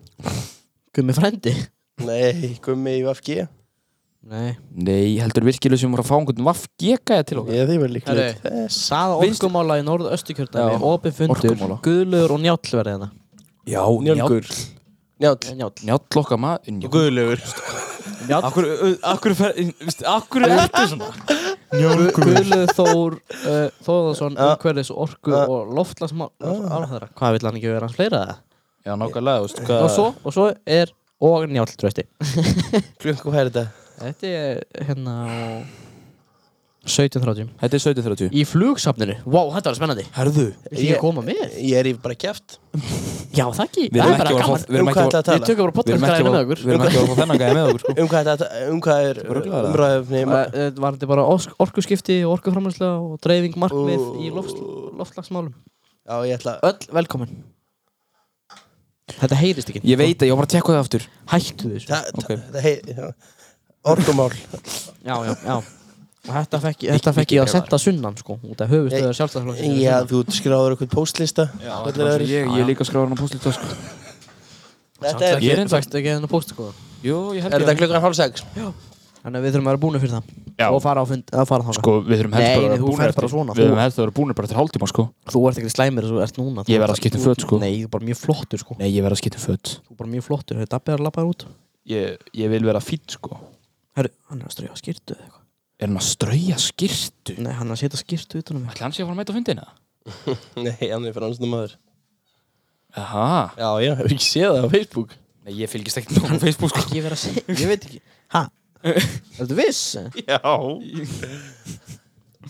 Speaker 3: Gummi frændi
Speaker 1: Nei, gummi í VFG
Speaker 3: Nei
Speaker 2: Nei, heldur virkilega sem voru að fá einhvern vaffgeka til okkar
Speaker 1: Ég þið verður líklega
Speaker 3: Herru.
Speaker 1: Þess
Speaker 3: Saða
Speaker 2: Vinstri-
Speaker 3: orkumála í norðaustukjördæmi
Speaker 2: Já,
Speaker 3: Opið fundur,
Speaker 2: orkumála.
Speaker 3: guðlögur og njáll verði hérna
Speaker 2: Já,
Speaker 1: Njálgur Njáll
Speaker 3: Njáll
Speaker 2: Eh, Njáll okkar maður
Speaker 1: Guðlegur
Speaker 3: Njáll
Speaker 2: Akkur, akkur, akkur, akkur er þetta svona?
Speaker 3: Guðlögur Þór uh, Þóðarsson,
Speaker 1: Já.
Speaker 3: umhverfis orku
Speaker 1: Já.
Speaker 3: og loftlagsmál Ráðherra, hvað vill hann ekki vera hans fleira það?
Speaker 2: Já, nákvæmlega, þú veist
Speaker 3: Og svo, og svo er og njáll trösti
Speaker 1: Klukk og herða
Speaker 3: Þetta er hérna á 17.30
Speaker 2: Þetta er 17.30
Speaker 3: Í flugsafninu, vá, þetta var spennandi
Speaker 1: Herðu
Speaker 3: Vil ég koma með?
Speaker 1: Ég er í bara kæft
Speaker 3: Já, það ekki,
Speaker 2: Við
Speaker 3: það
Speaker 2: erum
Speaker 3: er bara
Speaker 2: ekki að fá-
Speaker 1: Um hvað
Speaker 3: gaman
Speaker 2: við erum ekki að
Speaker 1: ætlaði að
Speaker 3: Við
Speaker 1: tala?
Speaker 3: tökum bara
Speaker 2: Við
Speaker 3: podcastgræðina með okkur
Speaker 2: erum ekki að fá- við erum ekki að fá þennan gæði með okkur sko.
Speaker 1: Um hvað þetta Um hvað er
Speaker 2: Bara ruglaður, eða?
Speaker 1: Umræðefni
Speaker 3: Það er varandi bara ork, orkuskipti, orkuframlæsla og dreifing markmið
Speaker 1: Ó.
Speaker 3: í loft, loftlagsmálum
Speaker 1: Já, ég ætla
Speaker 3: Öll velkomin Þetta heyrist ekki
Speaker 2: Ég veit að ég var bara að tekka það aftur
Speaker 3: Hættu þessu
Speaker 1: Það
Speaker 2: Ok.
Speaker 1: það- hei já. Orkumál
Speaker 3: Já, já, já Og þetta fekk, þetta fekk ég að senda sunnan sko Út af höfustöður sjálfstæðarflokksins
Speaker 1: Já, þú skráður eitthvað postlista
Speaker 2: Ég, ég, ég líka skráður hann á postlita sko.
Speaker 1: Þetta er
Speaker 3: Ég
Speaker 2: Ég
Speaker 3: er
Speaker 2: er
Speaker 3: eins og ekki hennar post sko
Speaker 2: Jú, ég
Speaker 1: Er
Speaker 2: held
Speaker 1: þetta klukkan hálf sex?
Speaker 3: Þannig að við þurfum að vera búinu fyrir það
Speaker 2: Já.
Speaker 3: Og fara á fund, að fara þá
Speaker 2: Sko, við þurfum helst
Speaker 3: Nei,
Speaker 2: bara
Speaker 3: nei,
Speaker 2: að vera
Speaker 3: þú
Speaker 2: búnir
Speaker 3: ferð
Speaker 2: eftir-
Speaker 3: bara svona,
Speaker 2: Við
Speaker 3: þú-
Speaker 2: þurfum helst að vera búnir bara til hálftíma sko
Speaker 3: Þú ert ekki slæmir eins og þú ert núna
Speaker 2: Ég
Speaker 3: Þú
Speaker 2: verð
Speaker 3: ert-
Speaker 2: að skipta um
Speaker 3: þú-
Speaker 2: föt, sko.
Speaker 3: Nei, ég er bara mjög flottur sko
Speaker 2: Nei, ég verð að skipta um fött
Speaker 3: Þú er bara mjög flottur, hefur Dabbi að labbaða út
Speaker 2: ég, ég vil vera fýtt sko
Speaker 3: Herru, hann er að strauja skýrtu eða eitthvað
Speaker 2: Er hann að strauja skirtu?
Speaker 3: Nei, hann er að setja skýrtu utan um mig
Speaker 2: Ætli hann sé að fara að mæta á hérna? fundina?
Speaker 1: Nei, hann er fransnum maður
Speaker 2: Aha
Speaker 1: Já, já, hef ekki séð það á Facebook
Speaker 2: Nei, ég fylgist ekkert nóg á Facebook sko
Speaker 3: Ég verð að segja, ég veit ekki Hæ? <laughs> Ertu viss?
Speaker 1: Já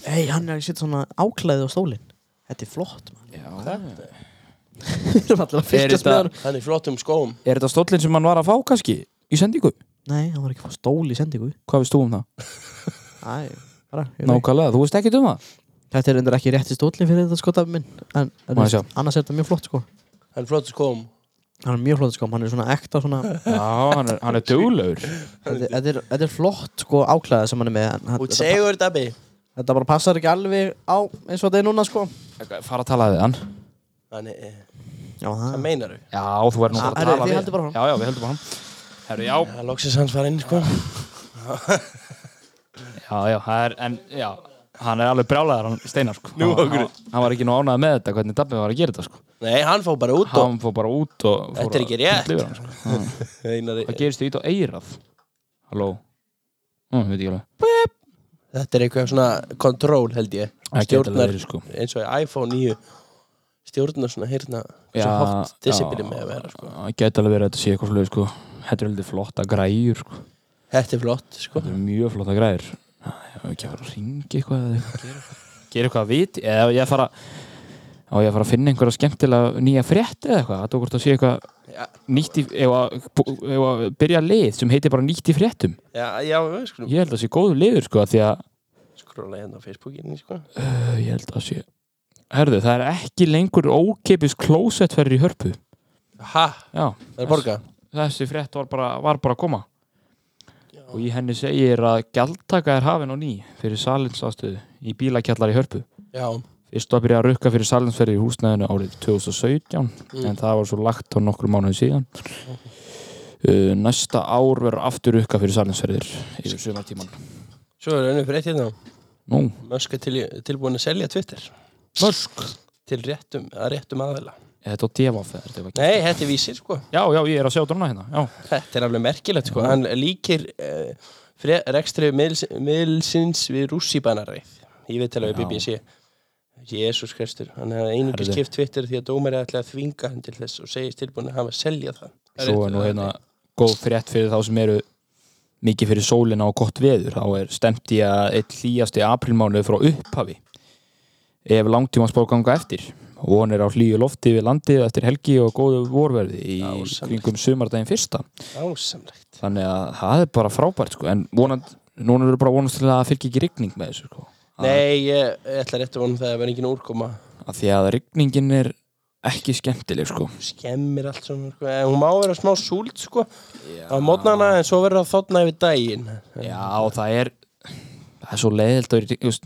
Speaker 3: Nei, hann er að setja svona áklæði á stólinn Þetta er flott, mann
Speaker 2: Já.
Speaker 3: Við erum allir að fylgjast
Speaker 2: þetta-
Speaker 3: með hann
Speaker 1: Hann er í flottum skóm
Speaker 2: Er þetta stóllin sem hann var að fá kannski? Í sendingu?
Speaker 3: Nei, hann var ekki að fá stól í sendingu
Speaker 2: Hvað veist þú um það?
Speaker 3: Æ, bara ég veit.
Speaker 2: Nákvæmlega, þú veist ekkert um það?
Speaker 3: Þetta er endur ekki rétti stólinn fyrir þetta sko Dabbi minn En, en
Speaker 2: Má ég sjá?
Speaker 3: annars er þetta mjög flott sko
Speaker 1: Hann er flottum skóm
Speaker 3: Hann er mjög flott sko, hann er svona ekta svona
Speaker 2: Já, hann er, hann er duglegur
Speaker 3: Þetta er- þetta er, þetta er flott sko áklæði sem hann er með en hann-
Speaker 1: Út
Speaker 3: Þetta
Speaker 1: segur, Dabbi
Speaker 3: þetta bara passar ekki alveg á eins og þetta er núna sko
Speaker 2: Fara að tala við hann
Speaker 1: Þannig, eh,
Speaker 3: Já,
Speaker 1: hvað
Speaker 3: það
Speaker 1: meinaru?
Speaker 2: Já, þú verður nú bara
Speaker 3: Herru,
Speaker 2: að tala
Speaker 3: þið
Speaker 2: við
Speaker 3: haldið bara áfram.
Speaker 2: Já, já, við heldum bara hann Herru, já
Speaker 1: Það loksins hans var inn, sko
Speaker 2: Já, já, það er, en, já Hann er alveg brjálæðar, hann steinar, sko
Speaker 1: Nú,
Speaker 2: Hann-
Speaker 1: af hverju?
Speaker 2: Hann, hann var ekki nú ánægð með þetta, hvernig Dabbi var að gera þetta, sko
Speaker 1: Nei, hann fór bara út og
Speaker 2: Hann fór bara út og fór
Speaker 1: Þetta er
Speaker 2: að
Speaker 1: ekki rétt. Hm.
Speaker 2: pilla yfir hann, sko.
Speaker 1: Einari,
Speaker 2: Það gerist því ít á eirað Halló Nú, ég veit ekki alveg
Speaker 1: Þetta er eitthvað svona kontról, held ég
Speaker 2: Það gæti alveg
Speaker 1: Stjórnar,
Speaker 2: verið, sko.
Speaker 1: eins og í iPhone 9 Stjórnar svona, hérna
Speaker 2: Já,
Speaker 1: Svo hátt
Speaker 2: já.
Speaker 1: disiplinir með að vera, sko
Speaker 2: Það geta alveg verið að þetta sé eitthvað slöðu, sko Þetta er heldur flotta græjur, sko
Speaker 1: Þetta er flott, sko
Speaker 2: Þetta er mjög flotta græjur Það er ekki að fara að ringa eitthvað eða eitthvað, gera eitthvað Gera eitthvað að viti Eða á ég að fara Á ég að fara að finna einhverja skemmtilega nýja frétt eða eitthvað Þetta okkur að sé eitthvað
Speaker 1: Já,
Speaker 2: nýtt í, ef að, ef að byrja lið sem heitir bara nýtt í fréttum
Speaker 1: já, já við skulum
Speaker 2: ég held að það sé góðu liður sko af því að
Speaker 1: skróla hérna á Facebookinni, sko
Speaker 2: uh, ég held að það sé herðu það er ekki lengur ókeipis klósettferðir í hörpu
Speaker 1: Ha,
Speaker 2: já
Speaker 1: það er borga
Speaker 2: þessi frétt var bara, var bara að koma og í henni segir að gjaldtaka er hafin á ný fyrir salinsástuðu í bílakjallar í hörpu
Speaker 1: Já,
Speaker 2: fyrst var að byrja að rukka fyrir salinsferði í húsnæðinu árið 2017 en það var svo lagt á nokkru mánuðu síðan uh, næsta ár verður aftur rukka fyrir salinsferðir yfir sumartíman
Speaker 1: svo er önnur fyrir eitt hérna
Speaker 2: Nú,
Speaker 1: Mösk er til, tilbúin að selja Twitter
Speaker 2: mörsk
Speaker 1: Til réttum, að réttum aðvela
Speaker 2: Er þetta á devaf? eða er þetta ekki?
Speaker 1: Nei, þetta er vísir, sko
Speaker 2: Já, já, ég er að sjá dróna hérna já.
Speaker 1: Þetta er alveg merkilegt
Speaker 2: Mm.
Speaker 1: sko, hann líkir uh, rekstri miðls, miðlsins við rússíbanaræð ég veit alveg
Speaker 2: Já.
Speaker 1: BBC Jésús Kristur, hann hefði einungis
Speaker 2: Herðu.
Speaker 1: skipt Twitter því að dómari ætlaði að þvinga hann til þess og segist tilbúin að hafa að selja það
Speaker 2: Svo er nú hérna góð frétt fyrir þá sem eru mikið fyrir sólina og gott veður þá er stemt í að eitt hlýjasti aprilmánuð frá upphafi ef langtíma spár ganga eftir von er á hlýju lofti við landið eftir helgi og góðu vorverði í
Speaker 1: Dásamlegt.
Speaker 2: kringum sumardaginn fyrsta
Speaker 1: Ásamlegt
Speaker 2: þannig að það er bara frábært sko. en vonand núna eru bara að vonast til að það fylgir ekki rigning með þessu sko. Að-
Speaker 1: Nei, ég, ég ætla rétt að vona það að vera engin úrkoma
Speaker 2: að því að rigningin er ekki skemmtileg sko.
Speaker 1: skemmir allt svona sko. en hún má vera smá súld sko á mótnana en svo verður það þotna yfir daginn
Speaker 2: já og það er það er svo leiðilt og just,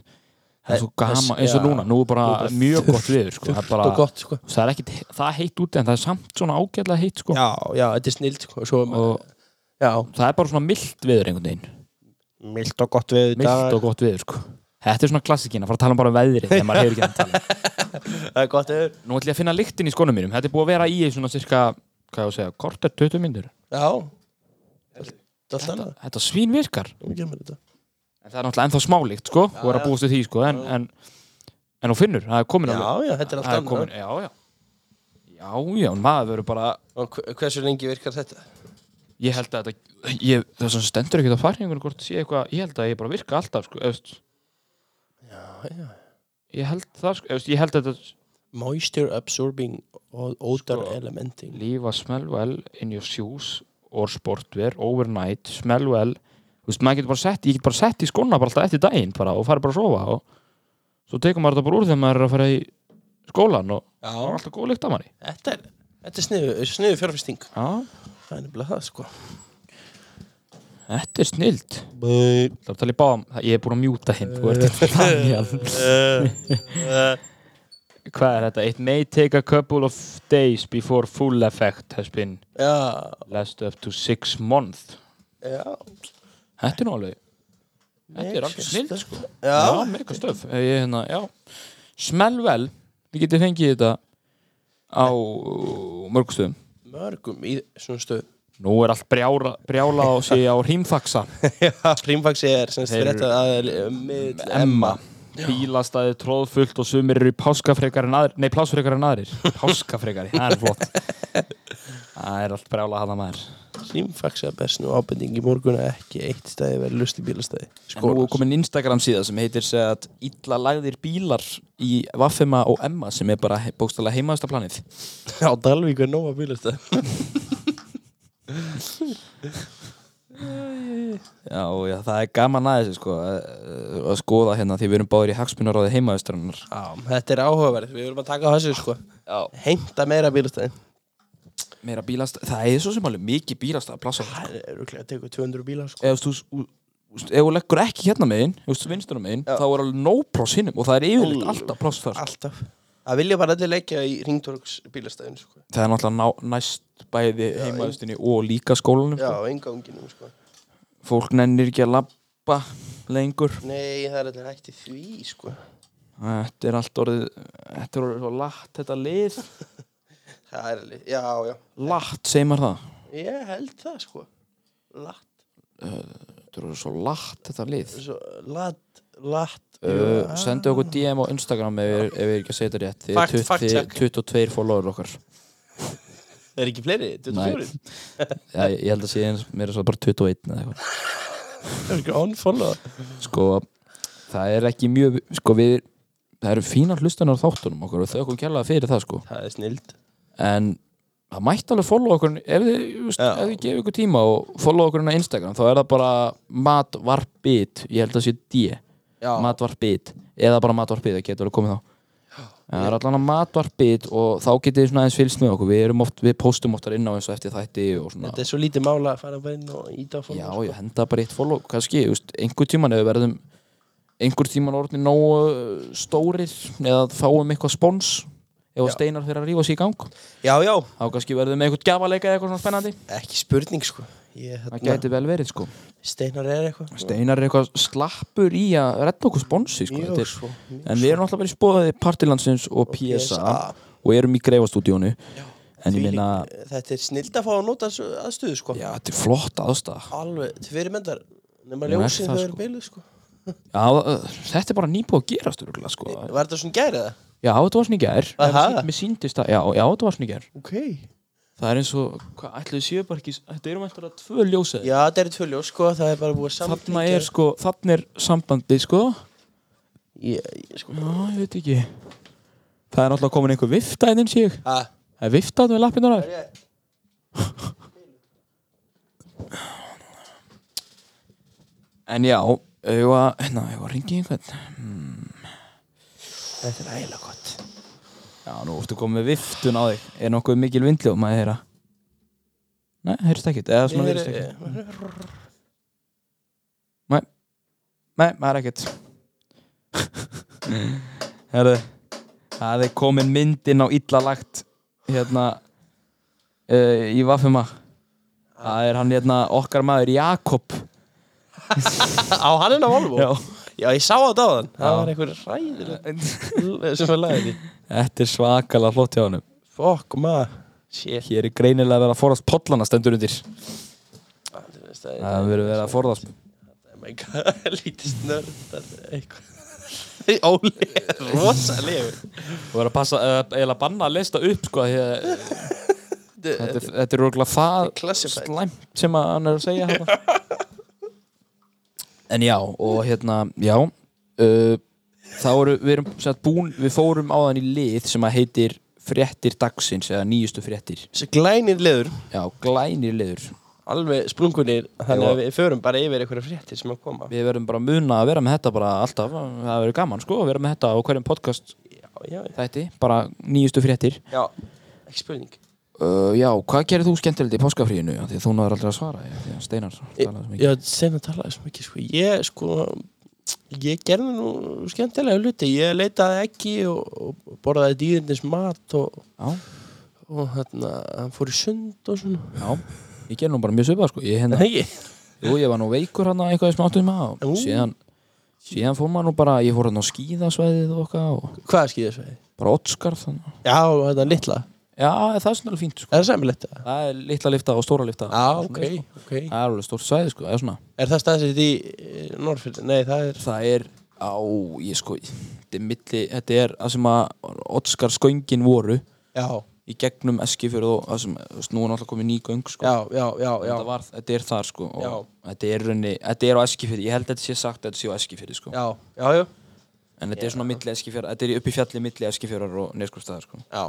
Speaker 2: það er svo gama eins og
Speaker 1: Já.
Speaker 2: núna, nú er bara
Speaker 1: Nú er bara
Speaker 2: mjög
Speaker 1: <laughs>
Speaker 2: gott viður sko. það, er
Speaker 1: og
Speaker 2: bara,
Speaker 1: gott sko
Speaker 2: það er ekkit það er heitt úti en það er samt svona ágætlega heitt sko.
Speaker 1: já, já, þetta er snild sko svo,
Speaker 2: og
Speaker 1: já,
Speaker 2: það er bara svona mild viður einhvern veginn
Speaker 1: mild og gott við
Speaker 2: mild og gott viður sko. þetta er svona klassikina, fara að tala um bara um veðrið þegar maður hefur ekki að tala um.
Speaker 1: það er gott við
Speaker 2: nú ætlum ég að finna lyktin í skonum mínum þetta er búið að vera í svona cirka hvað ég á að segja, kort er 20 myndur
Speaker 1: já, þetta er allt annað
Speaker 2: þetta svín virkar
Speaker 1: Þú kemur þetta.
Speaker 2: en það er náttúrulega ennþá smálikt sko, þú er að
Speaker 1: já.
Speaker 2: búast við því sko, en, en, en hún finnur, það er komin
Speaker 1: já,
Speaker 2: alveg
Speaker 1: já, þetta er allt
Speaker 2: Það er
Speaker 1: annað
Speaker 2: komin, já, já Já, já, maður verður bara
Speaker 1: og hve- hversu lengi virkar þetta
Speaker 2: Ég held að þetta ég, Það sem stendur ekkert á farningunum hvort sé eitthvað Ég held að ég bara virka alltaf sko, eftir,
Speaker 1: já, já.
Speaker 2: Ég held það sko, eftir, ég held að þetta
Speaker 1: moisture absorbing o- odor
Speaker 2: Sko.
Speaker 1: elementing
Speaker 2: Lífa smell well in your shoes or sportwear, overnight smell well, þú veist, maður getur bara sett ég get bara sett í skóna bara alltaf eftir daginn bara, og farið bara að sofa og svo tekur maður þetta bara úr þegar maður er að fara í skólan og
Speaker 1: já,
Speaker 2: það er alltaf góð lykt af manni
Speaker 1: þetta er Þetta er sniðu, sniðu fjárfesting.
Speaker 2: Já,
Speaker 1: Það er nefnilega það, sko.
Speaker 2: þetta er snilt
Speaker 1: Bæ.
Speaker 2: Það er að tala í báðum, ég er búin að mjúta hinn Þú ert ekki
Speaker 1: <laughs>
Speaker 2: Daniel
Speaker 1: Eh,
Speaker 2: Hvað er þetta? It may take a couple of days before full effect has been
Speaker 1: Já,
Speaker 2: last up to six months
Speaker 1: já.
Speaker 2: Þetta er nú alveg Þetta er alveg snilt sko
Speaker 1: Já,
Speaker 2: mega stöf Ég er hérna, já Smell vel, þið getið fengið þetta á mörgstöðum
Speaker 1: mörgum í svona stöð
Speaker 2: Nú er allt brjála, brjála á sig á rímfaxa
Speaker 1: <laughs> Já, rímfaxi er sem sagt
Speaker 2: Þeir eru-
Speaker 1: rétt að um miðl
Speaker 2: Emma Bílastæði tróðfullt og sumir eru í páskafrekar en aðrir Nei, plásfrekar en <laughs> aðrir Páskafrekari, það er flott Það er allt brjála hana maður
Speaker 1: Rímfaxi að best nú ábending í morgun að ekki eitt stæði verið lusti bílastæði
Speaker 2: En nú
Speaker 1: Skor
Speaker 2: er komin Instagram síða sem heitir segja að illa lagðir bílar í Vaffema og Emma sem er bara he- bókstallega heimaðasta planið
Speaker 1: á Dalvík er nóga bílastæði
Speaker 2: Já, og já, það er gaman aðeins sko, að, að skoða hérna því við erum báðir í hagsmunaráði heimaðastranar
Speaker 1: <laughs> Já, þetta er áhugaverð, við verum að taka á þessu sko
Speaker 2: Já.
Speaker 1: Heinta meira bílastæði
Speaker 2: Meira bílastæði, það er svo sem alveg mikið bílastæða plássa
Speaker 1: Það er rúklega að teka 200 bílar sko
Speaker 2: ef þú þú- þú- ef þú leggur ekki hérna megin ef þú vinstur megin,
Speaker 1: Já.
Speaker 2: þá er alveg nóg pláss hinnum og það er yfirleitt alltaf pláss þar sko.
Speaker 1: Alltaf Það vilja bara allir leikja í ringtorgs bílastæðinu sko
Speaker 2: það er náttúrulega ná, næst bæði heimaðustinni og líka skólanum
Speaker 1: Já,
Speaker 2: sko.
Speaker 1: enganginum sko
Speaker 2: fólk nennir ekki að labba lengur
Speaker 1: Nei, það er allir hægt í því sko
Speaker 2: þetta er allt orðið þetta er orðið svo látt þetta lið
Speaker 1: Það er alveg, já, já
Speaker 2: látt, segir maður það
Speaker 1: Ég held það sko Latt
Speaker 2: þetta er orðið svo látt þetta lið
Speaker 1: svo, Latt, latt
Speaker 2: Uh, sendu okkur DM á Instagram ef við- ef við erum ekki að segja þetta rétt Þið
Speaker 1: Fact-
Speaker 2: er
Speaker 1: fact check.
Speaker 2: 22 follower okkar
Speaker 1: Er ekki fleiri? 24?
Speaker 2: Já, ég ég held að sé eins mér er svo bara 21 eða eitthvað
Speaker 1: Það er ekki unfollow
Speaker 2: sko, það er ekki mjög sko, við, það eru fínar hlustunar á þáttunum okkur og þau okkur kjallaða fyrir það sko
Speaker 1: Það er snild
Speaker 2: en það mætti alveg follow okkur ef þið, just,
Speaker 1: Já.
Speaker 2: ef þið gefið ykkur tíma og follow okkur inn á Instagram, þá er það bara matvarpit, ég held að sé D
Speaker 1: Já,
Speaker 2: matvarpit, eða bara matvarpit það getur alveg komið þá en það er allan að matvarpit og þá getið þið svona aðeins fylgst með okkur, við, erum oft, við postum oftar inn á eins og eftir þætti og svona
Speaker 1: þetta er svo lítið mála að fara bara inn og íta á sko.
Speaker 2: Já,
Speaker 1: follow
Speaker 2: já, henda bara eitt follow kannski, þú veist, einhver tíman ef við verðum einhver tíman orðin nógu uh, stórir eða fáum eitthvað spons ef
Speaker 1: Já.
Speaker 2: að steinar fyrir að rífa sér í gang þá
Speaker 1: já, já,
Speaker 2: kannski verðum við eitthvað gjafaleika eða eitthvað svona spennandi
Speaker 1: ekki spurning sko Ég,
Speaker 2: það
Speaker 1: hérna,
Speaker 2: gæti vel verið sko
Speaker 1: Steinar er eitthvað
Speaker 2: steinar er eitthvað slappur í að redda okkur sponsi sko þetta
Speaker 1: Mjög
Speaker 2: er,
Speaker 1: svo mjög
Speaker 2: en við erum alltaf verið spóðið partilandsins og PSA
Speaker 1: PSA.
Speaker 2: og erum í greifastúdíónu en ég
Speaker 1: þvílík- eh,
Speaker 2: minna,
Speaker 1: Þetta er snild að fá að nota þessu aðstöðu sko
Speaker 2: já, þetta er flott aðstæða
Speaker 1: Alveg, tveir myndar Nefna
Speaker 2: Nú er
Speaker 1: ljósið
Speaker 2: það,
Speaker 1: þau eru
Speaker 2: sko.
Speaker 1: bíluð sko
Speaker 2: já, uh, þetta er bara nýbúið að gera styrkulega sko
Speaker 1: Var þetta svona gærið það?
Speaker 2: já, þetta var svona í gær
Speaker 1: Aha.
Speaker 2: En mér síndist að, já, já, þetta var svona í gær
Speaker 1: Ok
Speaker 2: Það er eins og, hvað ætluðu séu bara ekki Þetta eru mættur að tvö ljósið
Speaker 1: Já, þetta eru tvö ljós sko, það er bara búið að
Speaker 2: Þarna
Speaker 1: samþykkja-
Speaker 2: er sko, þarna er sambandi sko
Speaker 1: Ég, ég sko
Speaker 2: Já, ég veit ekki Það er náttúrulega komin einhver vifta inn sé ég
Speaker 1: Ha,
Speaker 2: Það er viftað með lappinu
Speaker 1: er
Speaker 2: þar
Speaker 1: ég
Speaker 2: En já, ég var, hérna, ég var ringið einhvern hmm.
Speaker 1: Þetta er ægilega gott
Speaker 2: Já, nú ertu komið með viftun á þig Er nokkuð mikil vindljóð maður heyra? Nei, heyrst ekkert Eða svona heyrst ekkert Nei, maður er ekkert Herðu Það er komin myndin á illalagt Hérna uh, Í Vafuma Það er hann hérna okkar maður Jakob
Speaker 1: Á hann en á Volvo Já,
Speaker 2: Já
Speaker 1: ég sá þetta á þann Það
Speaker 2: Já.
Speaker 1: var einhver ræðileg sem við lagði því
Speaker 2: Þetta er svakalega flott hjá hann
Speaker 1: Fokk maður Shit
Speaker 2: Hér er greinilega að vera að forðast pollana stendur undir Það verður verið að forðast
Speaker 1: Oh <laughs> Lítið snörð Þetta er eitthvað Óli er rosalegur
Speaker 2: Þú verður að passa, eða eiginlega banna að lista upp sko því að Þetta, er- þetta er örgulega það
Speaker 1: Classified.
Speaker 2: slæmt sem að hann er að segja hana. <laughs> En já, og hérna, já uh, Þá eru, við erum sem sagt, búin, við fórum á þann í lið sem að heitir fréttir dagsins eða nýjustu fréttir
Speaker 1: Þessi glænir leður
Speaker 2: Já, glænir liður
Speaker 1: Alveg sprungunir Þannig
Speaker 2: Já.
Speaker 1: að við förum bara yfir einhverja fréttir sem að koma
Speaker 2: Við verðum bara að muna að vera með þetta bara alltaf Það verður gaman sko að vera með þetta á hverjum podcast
Speaker 1: Já, já, já.
Speaker 2: þætti Bara nýjustu fréttir
Speaker 1: já Ekki spurning
Speaker 2: Uh, já, hvað gerir þú skemmtilegt í páskafríinu? Af Því að þú náður aldrei að svara, já, því að Steinar talaði svo mikið.
Speaker 1: Já, sen að tala þessum ekki sko. Ég sko Ég gerði nú skemmtilega hluti Ég leitaði ekki og, og borðaði dýrindis mat og,
Speaker 2: Já,
Speaker 1: og hérna, hann fór í sund og svona
Speaker 2: já, ég ger nú bara mjög svipað, sko. Ég,
Speaker 1: En
Speaker 2: hérna,
Speaker 1: það ekki
Speaker 2: jú, ég var nú veikur hann eitthvað í smáttum maður
Speaker 1: Ú.
Speaker 2: og síðan, síðan fór maður nú bara, ég fór hann á skíðasvæðið og okkar og
Speaker 1: Hvað er skíðasvæði?
Speaker 2: bara Otskarð þannig.
Speaker 1: Já, þetta er litla
Speaker 2: Já, það er svona alveg fínt, sko.
Speaker 1: Er það samilegt það?
Speaker 2: Það er litla lifta og stóra lifta.
Speaker 1: Já,
Speaker 2: Svona,
Speaker 1: ok,
Speaker 2: sko.
Speaker 1: ok
Speaker 2: Það er alveg stórt svæði, sko, það er svona.
Speaker 1: Er það staðsett í Norrfjörn? Nei, það er
Speaker 2: Það er á, ég sko, þetta er milli, þetta er að sem að Otskarskönkin voru
Speaker 1: Já,
Speaker 2: í gegnum Eskifjörð og að sem, þú veist, nú er náttúrulega komið ný göng, sko.
Speaker 1: já, já, já, já.
Speaker 2: þetta, var, þetta er þar sko
Speaker 1: Já.
Speaker 2: og þetta er, raunni, þetta er á Eskifjörði, ég held að þetta sé sagt að þetta sé á Eskifjörði sko.
Speaker 1: Já, já, já
Speaker 2: en þetta er svona milli Eskifjörð, þetta er upp í fjalli milli Eskifjörðar og Neskjörstaðar sko.
Speaker 1: Já,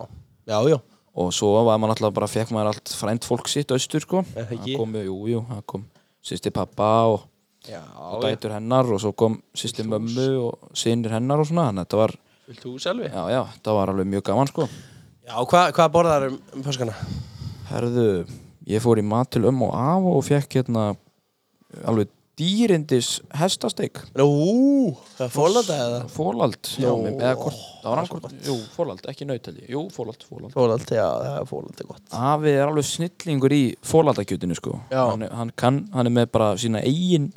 Speaker 1: já, já
Speaker 2: og svo var maður alltaf bara, fekk maður allt frænt fólk sitt austur sko.
Speaker 1: Er það
Speaker 2: það
Speaker 1: ekki?
Speaker 2: kom, jú, jú, það kom sýsti pappa og,
Speaker 1: Já,
Speaker 2: og
Speaker 1: já
Speaker 2: dætur hennar og svo kom sýsti mömmu og sinir hennar og svona, þannig að þetta var
Speaker 1: Vilt þú selvi?
Speaker 2: já, já, þetta var alveg mjög gaman sko
Speaker 1: Já, hvað hva borðar um, um páskana?
Speaker 2: herðu, ég fór í mat til ömmu og af og fekk hérna alveg dýrindis hestasteik
Speaker 1: Nú, það er fólanda eða?
Speaker 2: Fólald, já,
Speaker 1: Jó.
Speaker 2: mér, eða hvort Það var annarkvort, jú, Fólald, ekki nautelji Jú, Fólald, Fólald
Speaker 1: Fólald, já, það er fólald er gott
Speaker 2: Afi er alveg snillingur í Fólandakjötinu, sko
Speaker 1: Já.
Speaker 2: hann, er- hann kann, hann er með bara sína eigin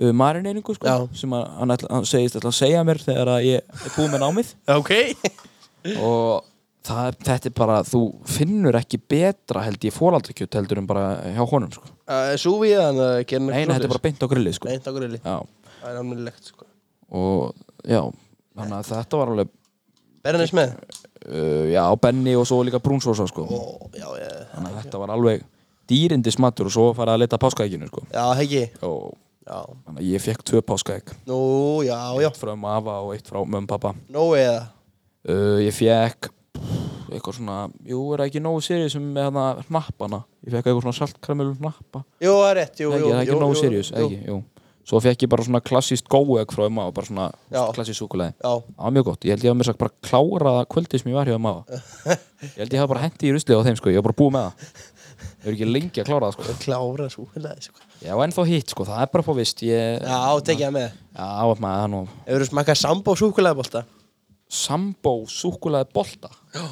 Speaker 2: uh, marineiningu, sko
Speaker 1: Já.
Speaker 2: sem að, hann, ætla, hann segist ætla að segja mér þegar að ég er búið með námið
Speaker 1: Ok <laughs>
Speaker 2: og það, er- þetta er bara, þú finnur ekki betra held ég Fólandakjöt heldur en bara hjá honum, sko
Speaker 1: uh, Súfið hann að gera
Speaker 2: Nei, nei, þetta er bara beint á grillið, sko
Speaker 1: Nei, takk reyli
Speaker 2: Já,
Speaker 1: Það er almennilegt, sko
Speaker 2: og, já, þannig að þetta var alveg
Speaker 1: Bernis með?
Speaker 2: uh, já, Benny og svo líka brúnsósa, sko
Speaker 1: Ó, já, ég
Speaker 2: Þannig að þetta var alveg dýrindis matur og svo farið að leita páskaegginu sko.
Speaker 1: Já, heggi
Speaker 2: og
Speaker 1: Já
Speaker 2: þannig að ég fekk tvö páskaegg
Speaker 1: Nú, já, já
Speaker 2: eitt frá ömmu afa og eitt frá mömmu pappa
Speaker 1: Nó eða
Speaker 2: uh, ég fekk eitthvað svona, jú er það ekki nógu sérið sem með hana hnappana ég fekk eitthvað svona saltkramölu hnappa
Speaker 1: Jú, það er rétt, jú,
Speaker 2: ekki,
Speaker 1: jú
Speaker 2: það er
Speaker 1: jú,
Speaker 2: ekki nógu
Speaker 1: jú,
Speaker 2: sérið,
Speaker 1: jú.
Speaker 2: ekki, jú svo fekk ég bara svona klassist góegg frá ömmu afa, bara svona
Speaker 1: Já.
Speaker 2: klassist súkulæði
Speaker 1: Já,
Speaker 2: það var mjög gott, ég held ég að mér sagt bara klára það kvöldið sem ég var hjá ömmu afa ég held ég hafa bara hendi í ruslið á þeim sko, ég var bara búið með það ég er ekki lengi að klára það sko
Speaker 1: klára súkulæði sko.
Speaker 2: Já, ennþá hitt sko, það er bara på vist ég...
Speaker 1: Já, tekið það með
Speaker 2: Já, maður, það er nú
Speaker 1: Hefur þú smakað sambó súkulæðabólta?
Speaker 2: Sambó, súkkulaði bolta Já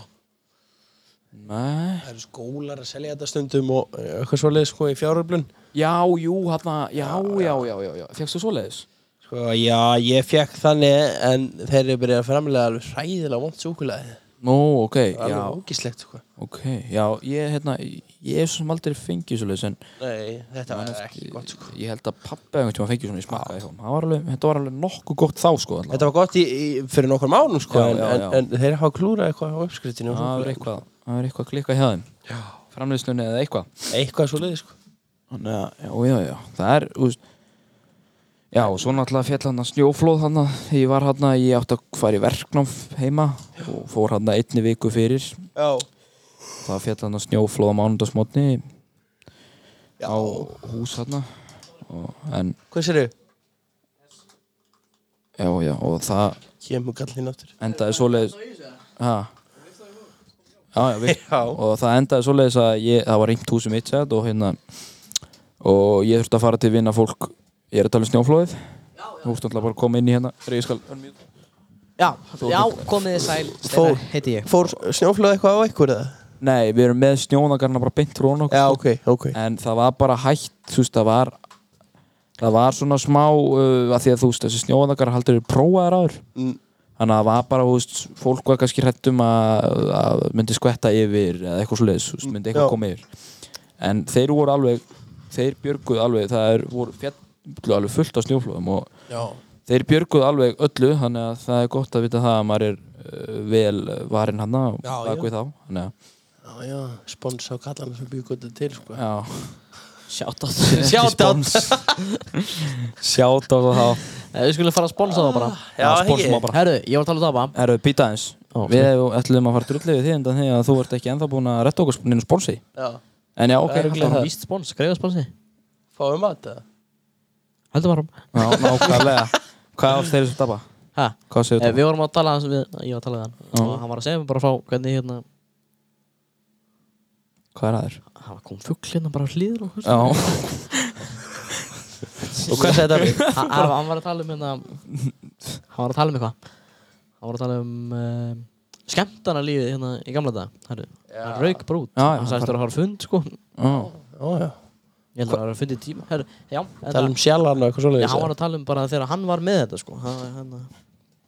Speaker 2: Nei
Speaker 1: Það eru skólar að selja þetta stundum og eh, eitthvað svoleið sko í fjáröflun
Speaker 2: Já, jú, hann já, já, já, já, já Fjöxtu svoleiðis?
Speaker 1: Sko, já, ég fekk þannig en þeir eru byrjað að framlega alveg hræðilega vond súkulæði
Speaker 2: Nú, ok,
Speaker 1: Það er
Speaker 2: já,
Speaker 1: alveg ógislegt sko
Speaker 2: ok Já, ég, hérna, ég er svo sem aldrei fengið svoleiðis en
Speaker 1: Nei, þetta var ekki gott sko
Speaker 2: ég held að pappa einhvern tíma fengið svona í smakka í honum. Það var alveg, þetta var alveg nokkuð gott þá sko allavega.
Speaker 1: Þetta var gott í, í, fyrir nokkur mánum sko
Speaker 2: Já,
Speaker 1: en,
Speaker 2: já,
Speaker 1: en,
Speaker 2: já.
Speaker 1: en þeir hafa klúrað eitthvað á uppskriftinu og
Speaker 2: Það
Speaker 1: súkkulaði.
Speaker 2: er eitthvað, það er eitthvað að klikka hjá þeim
Speaker 1: Já.
Speaker 2: Framleiðslunni eða eitthvað
Speaker 1: Eitthvað svoleið sko
Speaker 2: Þannig að, já, já, já, það er, þú veist Já, og svo náttúrulega fjall hann að snjóflóð hann að ég var hann að ég átti að fara í verknám heima og fór hann að einni viku fyrir
Speaker 1: Já,
Speaker 2: það fjall hann að snjóflóð á mánudagsmótni
Speaker 1: já.
Speaker 2: á hús hann og en
Speaker 1: Hvað sér þau?
Speaker 2: já, já, og það
Speaker 1: Kemur gallin aftur
Speaker 2: endaði svoleiðis ha? já, já, við
Speaker 1: <laughs> Já.
Speaker 2: og það endaði svoleiðis að ég, það var ringt húsum mitt sett og hérna og ég þurfti að fara til vinna fólk ég er að tala um snjóflóðið þú ert alltaf bara að koma inn í hérna þegar ég skal
Speaker 3: Já, já komið þið sæl
Speaker 1: Þór.
Speaker 3: Steinar heiti ég
Speaker 1: Fór snjóflöð eitthvað á ykkur eða?
Speaker 2: nei, við erum með snjónagarna bara beint rón okkur
Speaker 1: Já,
Speaker 2: sko.
Speaker 1: ok, ok
Speaker 2: en það var bara hægt þú veist, það var það var svona smá uh, að því að þú veist, þessi snjóðakar haldur eru prófaðar áður
Speaker 1: Mm.
Speaker 2: þannig að það var bara, þú veist, fólk var kannski hrættum að, að myndi skvetta yfir eða eitthvað svoleiðis, þú veist, myndi eitthvað
Speaker 1: Já.
Speaker 2: koma yfir en þeir voru alveg þeir björguðu alveg, það er, voru fjallu alveg fullt á snjóflóðum og
Speaker 1: Já,
Speaker 2: þeir björguðu alveg öllu þannig að það er gott að vita það að maður er uh, vel varinn hann og
Speaker 1: Já, já.
Speaker 2: bakvið þá þannig að,
Speaker 1: já, já Spons á kallana sem byggur þetta til sko.
Speaker 2: já
Speaker 3: Shoutout <laughs>
Speaker 1: Shout out. <laughs>
Speaker 2: Sjátt á það
Speaker 3: Eh, Við skulum fara að sponsa það bara
Speaker 1: Já,
Speaker 2: spórsum á
Speaker 1: ekki.
Speaker 2: bara
Speaker 3: Herru, ég var að tala um það bara
Speaker 2: Erðu, býta eins
Speaker 3: Ó,
Speaker 2: Við hefum- ætlum að fara drullið við því en þannig að þú ert ekki ennþá búin að retta okkur sp- neinu sponsi
Speaker 1: Já,
Speaker 2: En
Speaker 1: Það er
Speaker 2: já, ok, halda
Speaker 1: örugglega
Speaker 2: áfram.
Speaker 1: það.
Speaker 3: Víst spons, greiða sponsi
Speaker 1: fáum mat eða?
Speaker 3: Heldur varum
Speaker 2: Já, nákvæmlega Hvað ást þeir sem tapa?
Speaker 3: Ha,
Speaker 2: Hvað segir
Speaker 3: eh,
Speaker 2: þú?
Speaker 3: við vorum að tala aðeins við, ég var að tala við hann
Speaker 2: Já.
Speaker 3: og hann var að segja mér bara frá hvernig hérna
Speaker 2: Hvað er aður?
Speaker 3: hann var kom fugl hérna bara á hlýður og
Speaker 2: Já,
Speaker 1: Og hvað segir þetta?
Speaker 3: Ha- ha- hann var að tala um hérna hann var að tala um eitthvað hann var að tala um uh, skemmtana lífið hérna í gamla dag Herru, hann rauk bara út
Speaker 2: Já, já,
Speaker 3: hann sagðist þurfa að hafa fund sko ég
Speaker 2: já,
Speaker 1: Já, já
Speaker 3: held að það var að fundi tíma Herru, já, en
Speaker 1: Tala
Speaker 3: það,
Speaker 1: um sjalan og eitthvað
Speaker 3: já,
Speaker 1: svoleiðis
Speaker 3: hann var að tala um bara þegar hann var með þetta sko hann, hann,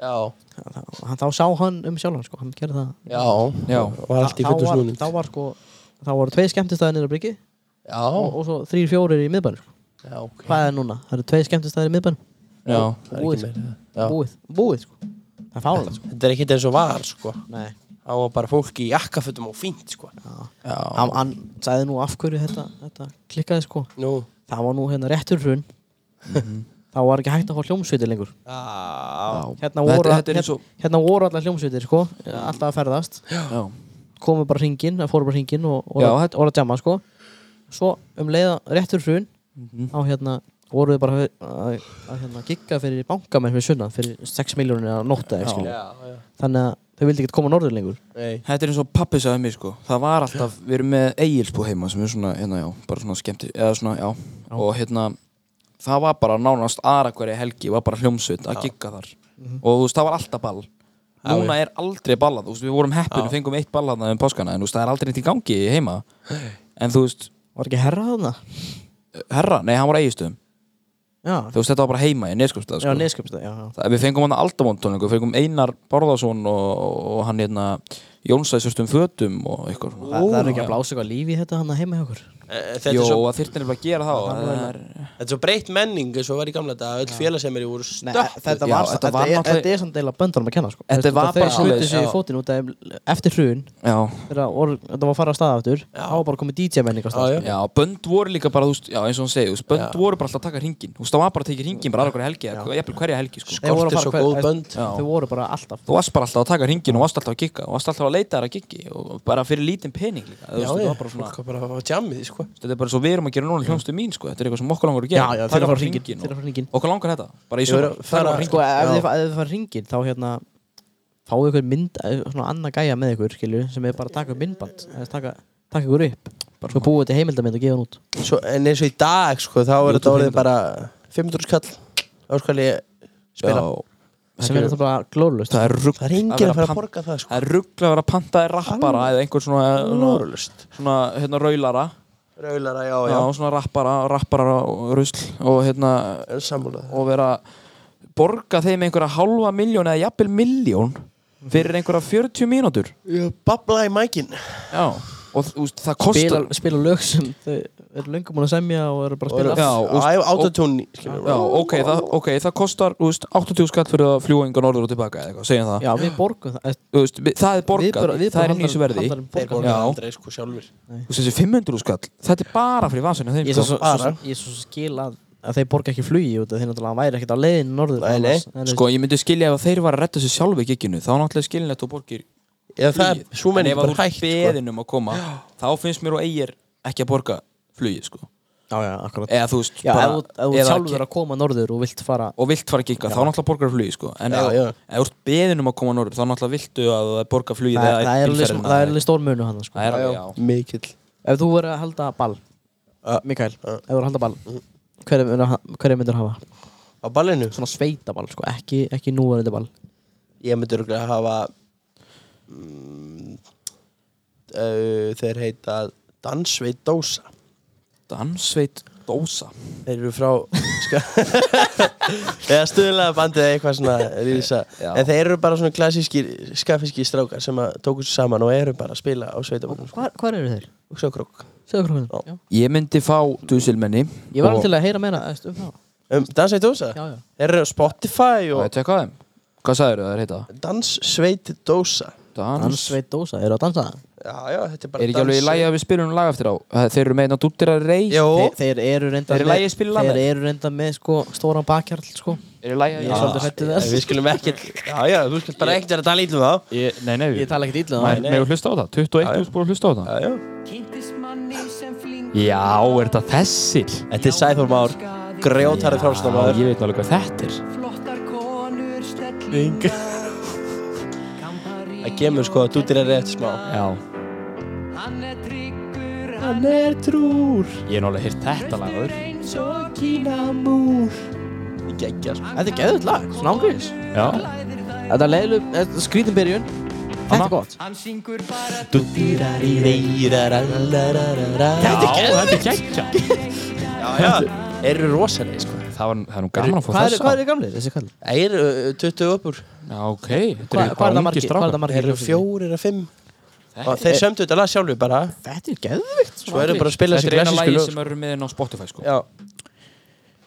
Speaker 1: Já,
Speaker 3: hann, hann, þá sá hann um sjálfan sko hann gerði það
Speaker 1: já
Speaker 2: Já.
Speaker 1: Og allt í
Speaker 3: Þá-
Speaker 1: fullu
Speaker 3: þá var-
Speaker 1: snúning
Speaker 3: þá var sko þá voru tvei skemmtistæðir niður að bryggi og,
Speaker 1: Já,
Speaker 3: og svo þrýr fjórir í miðbæn sko.
Speaker 1: já, ok
Speaker 3: hvað er núna? það eru tvei skemmtistæðir í miðbæn
Speaker 2: já
Speaker 1: Það er ekki meira Já.
Speaker 3: búið, búið sko. það er fárlega sko.
Speaker 1: Þetta er ekkert eins og var sko
Speaker 3: Nei.
Speaker 1: Það var bara fólk í jakkafutum og fínt sko
Speaker 2: Já,
Speaker 3: hann, hann sagði nú af hverju þetta, þetta klikkaði sko
Speaker 1: Nú
Speaker 3: það var nú hérna réttur hrun
Speaker 2: Mhm.
Speaker 3: <laughs> það var ekki hægt að fá hljómsveitir lengur
Speaker 1: Já
Speaker 3: hérna
Speaker 2: Þetta-
Speaker 3: voru,
Speaker 2: þetta er eins
Speaker 3: hérna,
Speaker 2: og-
Speaker 3: hérna voru allar hljómsveitir sko alltaf að ferðast
Speaker 2: já
Speaker 3: komu bara hringin, fóru bara hringin og voru,
Speaker 2: Já,
Speaker 3: þetta... voru að jamma sko svo um leiða réttur hrun
Speaker 2: Mhm.
Speaker 3: á hérna voru þið bara að, að, að hérna, gigga fyrir bankamenn fyrir sunnan fyrir 6 miljónir að nótta
Speaker 2: Já.
Speaker 3: ja.
Speaker 1: Já, já
Speaker 3: þannig að þau vildi ekki koma norður lengur
Speaker 1: Nei
Speaker 2: Þetta er eins og pappi sagði mér sko Það var alltaf, við erum með eigilsbú heima sem er svona, hérna já, bara svona skemmti eða svona, já, og hérna það var bara nánast aðra hverja helgi var bara hljómsveit að gigga þar og þú veist, það var alltaf ball Núna er aldrei ballað, þú veist, við vorum heppin og fengum eitt ballað um páskana, en þú veist, það er aldrei neitt í gangi heima, en þú veist
Speaker 3: var ekki herra þarna?
Speaker 2: herra, nei, hann var eigistöðum,
Speaker 3: já,
Speaker 2: þú veist, þetta var bara heima í neskjöfstað,
Speaker 3: já
Speaker 2: sko
Speaker 3: neskjöpstæð já, já.
Speaker 2: Það- Við fengum hann aldamóntónlingu, við fengum Einar Bárðarsson og, og hann hérna Jónsæsjörstum fötum og eitthvað svona.
Speaker 3: Þa, það er ekki að blása eitthvað lífi í þetta hann heima hjá okkur
Speaker 1: Eh, Þetta
Speaker 2: Jó,
Speaker 1: er svo
Speaker 2: að þyrfti nefnilega að gera það, það, það er,
Speaker 1: Þetta er svo breytt menning eins og var í gamla dag öll félagsemmir voru
Speaker 3: Nei,
Speaker 1: stöpp
Speaker 3: þetta, var,
Speaker 2: Já, þetta
Speaker 3: þetta,
Speaker 2: var
Speaker 3: er,
Speaker 2: náttúrulega-
Speaker 3: þetta er samt deila böndunum að kenna sko.
Speaker 2: Þetta
Speaker 3: Veistu,
Speaker 2: var bara
Speaker 3: þeir skutu
Speaker 2: svoleiðis,
Speaker 3: sig í
Speaker 2: já.
Speaker 3: fótinn út af eftir hrun
Speaker 2: já,
Speaker 3: þegar voru- þetta var að fara að staða aftur þá var bara komið DJ menning að
Speaker 1: Já,
Speaker 3: staða
Speaker 1: já.
Speaker 3: sko.
Speaker 2: já, bönd voru líka bara, þú veist, já, eins og hann segi, þú veist, bönd voru bara alltaf að taka hringin, þú veist, það var bara að tekja hringin bara aðra hverja helgi, eða jafnvel hverja helgi, sko.
Speaker 3: Þeir voru að
Speaker 1: Skortir
Speaker 3: fara
Speaker 1: svo
Speaker 3: hver-
Speaker 1: góð
Speaker 3: eða-
Speaker 1: bönd.
Speaker 3: þau voru bara alltaf
Speaker 2: Þú varst bara alltaf að taka hringin og varst alltaf að gigga, og varst alltaf að leita þar að giggi, og bara fyrir lítinn pening líka,
Speaker 1: Já,
Speaker 2: þú veist,
Speaker 1: já,
Speaker 2: þetta var bara svona,
Speaker 1: fólk var bara að jammið, sko
Speaker 2: þetta er bara svo við erum að gera núna hljómsdu mín, sko, þetta er eitthvað sem okkur langar að gera,
Speaker 3: Já, já,
Speaker 2: Taka
Speaker 3: þeirra
Speaker 2: bara
Speaker 3: fara hringinn,
Speaker 2: hringinn og-
Speaker 3: þeirra fara hringinn.
Speaker 2: Okkur langar þetta, bara í
Speaker 1: Ég verð
Speaker 2: sumar,
Speaker 1: að
Speaker 2: taka bara
Speaker 1: fara-
Speaker 2: hringinn.
Speaker 3: sko,
Speaker 1: Já.
Speaker 3: ef þið, fa- ef þið fara hringin þá hérna fáið ykkur mynd, eh, svona annað gæja með ykkur skilju, sem er bara að taka upp myndband eða taka, taka ykkur upp, svo búið til heimildamind og gefa hann út
Speaker 1: svo, En eins og í dag, sko, þá er þetta orðið bara 500 skall Það var sko ég spila
Speaker 2: Já.
Speaker 3: sem er þetta bara glóðlust
Speaker 2: Það er rugg
Speaker 1: Það er enginn að fara að borga það, sko
Speaker 2: Það er rugg að vera pantaði rappara eða einhver svona, svona,
Speaker 1: Norrlust
Speaker 2: svona hérna, raulara
Speaker 1: Raulara, já,
Speaker 2: Já,
Speaker 1: já,
Speaker 2: svona rappara, rappara og rusl og hérna
Speaker 1: já. sammálaði
Speaker 2: og vera borga þeim einhverja halva miljón eða jafnvel miljón fyrir einhverja 40 mínútur
Speaker 1: Ég babla í mækin
Speaker 2: Já, og þú veist, það kostar
Speaker 3: spila, spila lög sem þau eru löngum búin að semja og eru bara að spila
Speaker 2: Já, og-
Speaker 1: Hérna, Autotune
Speaker 2: Já, ok, það, okay, það kostar þú veist, 80 skatt fyrir að fljúa yngar norður og tilbaka eða eitthvað, segjum það
Speaker 3: Já, við borgum það
Speaker 2: Þú veist, við- Það er borgað, það er inn í þessu verði
Speaker 3: haldarum
Speaker 1: Þeir
Speaker 3: borgar.
Speaker 1: borga
Speaker 2: Já.
Speaker 1: aldrei, sko, sjálfur
Speaker 2: Þú veist, þessi 500 skatt, þetta er bara fyrir vasinu þeim
Speaker 3: Ég
Speaker 2: sko.
Speaker 3: svo, svo, svo,
Speaker 1: Bara.
Speaker 3: ég svo skil að, að þeir borga ekki flugi út af því náttúrulega hann væri ekkert á leiðin norður
Speaker 1: Nei, nei.
Speaker 3: annars. En þú
Speaker 2: Sko, ég myndi skilja ef að þeir var að retta sér sjálfi gigginu þá náttúrulega skilin þetta og borgir
Speaker 1: Já, það er svo menn
Speaker 2: En ef að
Speaker 1: bara
Speaker 2: þú
Speaker 1: hægt,
Speaker 2: ert
Speaker 1: sko
Speaker 2: beðin um að koma þá finnst mér og eigir ekki að borga flugið, sko
Speaker 3: já, já, akkurat
Speaker 2: eða þú veist
Speaker 3: Já, ef
Speaker 2: bara,
Speaker 3: þú- ef þú
Speaker 2: eða
Speaker 3: sjálfur að koma norður og vilt fara
Speaker 2: og vilt fara að gigga, þá náttúrulega borgar flugi sko. en
Speaker 1: Já,
Speaker 2: ef
Speaker 1: já.
Speaker 2: ef þú ert beðin um að koma norður þá náttúrulega viltu að þú borgar flugi
Speaker 3: Það er- það er alveg sm- það er alveg stór munu hann sko.
Speaker 2: það er alveg, já
Speaker 1: Mikill
Speaker 3: Ef þú verður að halda ball
Speaker 1: Ja.
Speaker 3: Mikael,
Speaker 1: Ja.
Speaker 3: ef þú verður að halda ball Hverja myndir, hver myndir hafa?
Speaker 1: Á ballinu
Speaker 3: Svona sveitaball, sko, ekki, ekki núverandi ball
Speaker 1: Ég myndi örugglega hafa mm, uh, Þeir heita Dansveit Dósa
Speaker 2: Dansveit Dósa
Speaker 1: Þeir eru frá ska- Eða stuðlega bandið eða eitthvað
Speaker 2: <laughs>
Speaker 1: svona rísa.
Speaker 2: Já.
Speaker 1: En þeir eru bara svona klassíski skafiski strákar sem að tóku sér saman og eru bara að spila á sveitabóknum sko.
Speaker 3: Hvar, hvar eru þeir?
Speaker 1: og svo krók
Speaker 3: Segðu okkur hvernig Já.
Speaker 2: Ég myndi fá dusilmenni
Speaker 3: Ég var alveg til að heyra meira eðst, um það
Speaker 1: um, Dansveit Dósa?
Speaker 3: Já, já
Speaker 1: Þeir eru á Spotify
Speaker 2: Það er
Speaker 1: og
Speaker 2: tjekka á þeim Hvað sagður það heita?
Speaker 1: Danssveit Dósa
Speaker 2: Dans
Speaker 3: Dansveit dósa, eru að dansa?
Speaker 1: Já, já, þetta er bara
Speaker 2: Er ekki alveg í
Speaker 1: dans-
Speaker 2: lagi að við spilum lag eftir á? Þeir eru meðin að dúttir að rey
Speaker 1: Jó,
Speaker 3: Þeir, þeir eru reynda
Speaker 2: Eru í lagi að spila lag
Speaker 3: Þeir
Speaker 2: með?
Speaker 3: eru reynda með, sko, stóran bakkjarl, sko
Speaker 2: Er í lagi að
Speaker 3: Ég er svolítið hræddur við það.
Speaker 1: við skulum ekki Já, já, þú skalt bara ekkert vera að tala um ítlum á
Speaker 2: Ég, nei, nei,
Speaker 3: Ég
Speaker 2: við
Speaker 3: tala ekkert illa um
Speaker 2: Nei,
Speaker 3: það
Speaker 1: nei.
Speaker 2: Megum hlusta á það, 21
Speaker 1: Já, já.
Speaker 2: hús búið að hlusta á það
Speaker 1: Já, já
Speaker 2: Já, er þetta þessil?
Speaker 1: Þetta er Sæþór Már Grjótarði
Speaker 2: Já,
Speaker 1: framstofnaður
Speaker 2: Ég veit alveg hvað þetta er
Speaker 4: Flottar konur stellingar
Speaker 1: Það gemur sko að dútir er rétt smá
Speaker 2: Já,
Speaker 4: Hann er tryggur,
Speaker 1: Hann er trúr
Speaker 2: ég er nálega hýrt þetta lag áður
Speaker 4: eins og
Speaker 1: Kínamúr Gekkja sko
Speaker 3: Þetta er geðut lag, svona ángriðis
Speaker 2: Já,
Speaker 4: klæðir þær
Speaker 3: Þetta er leiðileg, eh, skrítin byrjun Þetta er gott
Speaker 4: Hann syngur bara
Speaker 1: Dúttirari reyrararararara
Speaker 2: þetta er geggja
Speaker 1: Já, já Þeir eru rosalega sko
Speaker 2: Það var- það er nú gaman að fá
Speaker 3: Hvað eru-
Speaker 2: þessa
Speaker 3: hvað eru gamlir, þessi kall?
Speaker 1: Þeir eru uh, 20 uppur
Speaker 2: Já, ok, þetta
Speaker 3: Hvað
Speaker 2: eru
Speaker 3: hvað er
Speaker 2: bara
Speaker 3: það
Speaker 2: ungi
Speaker 3: margir? Hvað er
Speaker 2: strákar
Speaker 3: það margir?
Speaker 1: Þeir eru
Speaker 3: hljómsveitir?
Speaker 1: fjórir að fimm Og þeir sömdu þetta lag sjálfur bara
Speaker 3: Þetta er sko. geðvikt
Speaker 1: Svo eru bara að spila sér
Speaker 2: Þetta er eina
Speaker 1: klassísku
Speaker 2: lagi
Speaker 1: lög
Speaker 2: sem eru meðin á Spotify sko
Speaker 1: Já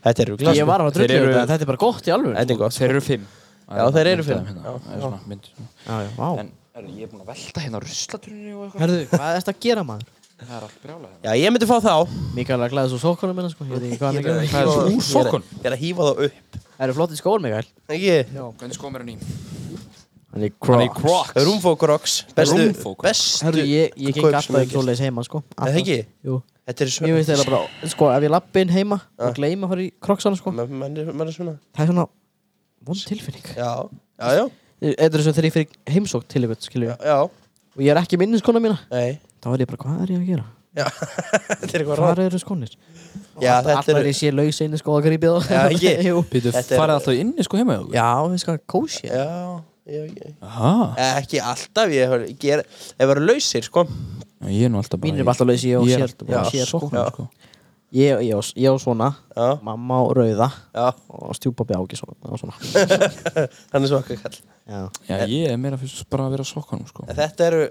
Speaker 1: Þetta eru glasku
Speaker 3: Ég var að
Speaker 2: Þeir
Speaker 3: drullu
Speaker 2: eru-
Speaker 3: þetta, þetta er bara gott í alveg
Speaker 1: Þetta er gott
Speaker 2: Þeir eru fimm
Speaker 1: Já, þeir eru fimm.
Speaker 2: Hérna,
Speaker 1: Já,
Speaker 2: það er svona mynd-
Speaker 3: Já, já, vá
Speaker 2: En er, ég er búinn að velta hérna ruslatunni og eitthvað
Speaker 3: Herðu, hvað ertu að gera maður?
Speaker 2: Það er allt brjála hérna
Speaker 1: Já, ég myndi fá þá
Speaker 3: Mikael er að glæða svo sokkunum minna sko, ég veit ekki hvað hann er að gera
Speaker 2: Það er svo úr sokkunum.
Speaker 1: Ég er að hýfa þá upp
Speaker 3: Það eru flott í skór Mikael
Speaker 1: Ekki
Speaker 2: Hvernig sko
Speaker 3: hérna
Speaker 2: mér hann í?
Speaker 3: Hann er
Speaker 2: Hann er í
Speaker 3: cross
Speaker 2: Crocs
Speaker 1: Rúmfókroks Bestu
Speaker 2: Rúmfók.
Speaker 1: Bestu
Speaker 3: Herðu, ég, ég geng
Speaker 1: kaup
Speaker 3: alltaf
Speaker 1: sem
Speaker 3: um
Speaker 1: ég get.
Speaker 3: svoleiðis heima sko
Speaker 1: Er það ekki?
Speaker 3: Jú
Speaker 1: Þetta er
Speaker 3: Ég
Speaker 1: svona
Speaker 3: veist þeirra bara, sko, ef ég lappi inn heima og gleyma að fara í kroksana sko
Speaker 1: Man man er man er svona
Speaker 3: Það er svona vond tilfinning
Speaker 1: Já Já, já
Speaker 3: Þetta er eins og þegar ég fyrir heimsókn til ykkur, skilju
Speaker 1: Já, já
Speaker 3: Og ég er ekki minni skona mína
Speaker 1: Nei
Speaker 3: Þá er ég bara, hvað er ég að gera?
Speaker 1: Já <laughs> Þetta er eitthvað ráð
Speaker 3: Hvað eru skonir?
Speaker 1: Já,
Speaker 3: Alltaf
Speaker 1: þetta
Speaker 3: er
Speaker 1: er
Speaker 3: ég sé laus einu sko að grípið og
Speaker 1: Já, ekki.
Speaker 3: <laughs> Jú.
Speaker 2: Býtu,
Speaker 1: Þetta er-
Speaker 2: farið alltaf inni sko heima hjá okkur?
Speaker 3: Já, við sko, kósi
Speaker 1: Já Ég veit ekki
Speaker 2: Aha,
Speaker 1: Ekki alltaf Ég hef ger Ef eru lausir, sko
Speaker 2: Já, ég er nú alltaf bara
Speaker 3: Mínir eru alltaf lausir, ég og
Speaker 2: Ég er
Speaker 3: sér-
Speaker 2: alltaf bara
Speaker 3: já,
Speaker 2: í
Speaker 3: sér, sko.
Speaker 2: sokkunum sko
Speaker 3: Ég, ég, á- ég á svona
Speaker 1: Já.
Speaker 3: Mamma á rauða
Speaker 1: Já <laughs>
Speaker 3: Og stjúpa bjáki svona, og svona.
Speaker 1: Hann er svaka kall
Speaker 3: Já.
Speaker 2: Já, ég er meira fyrst bara að vera á sokkunum sko
Speaker 1: En Þetta eru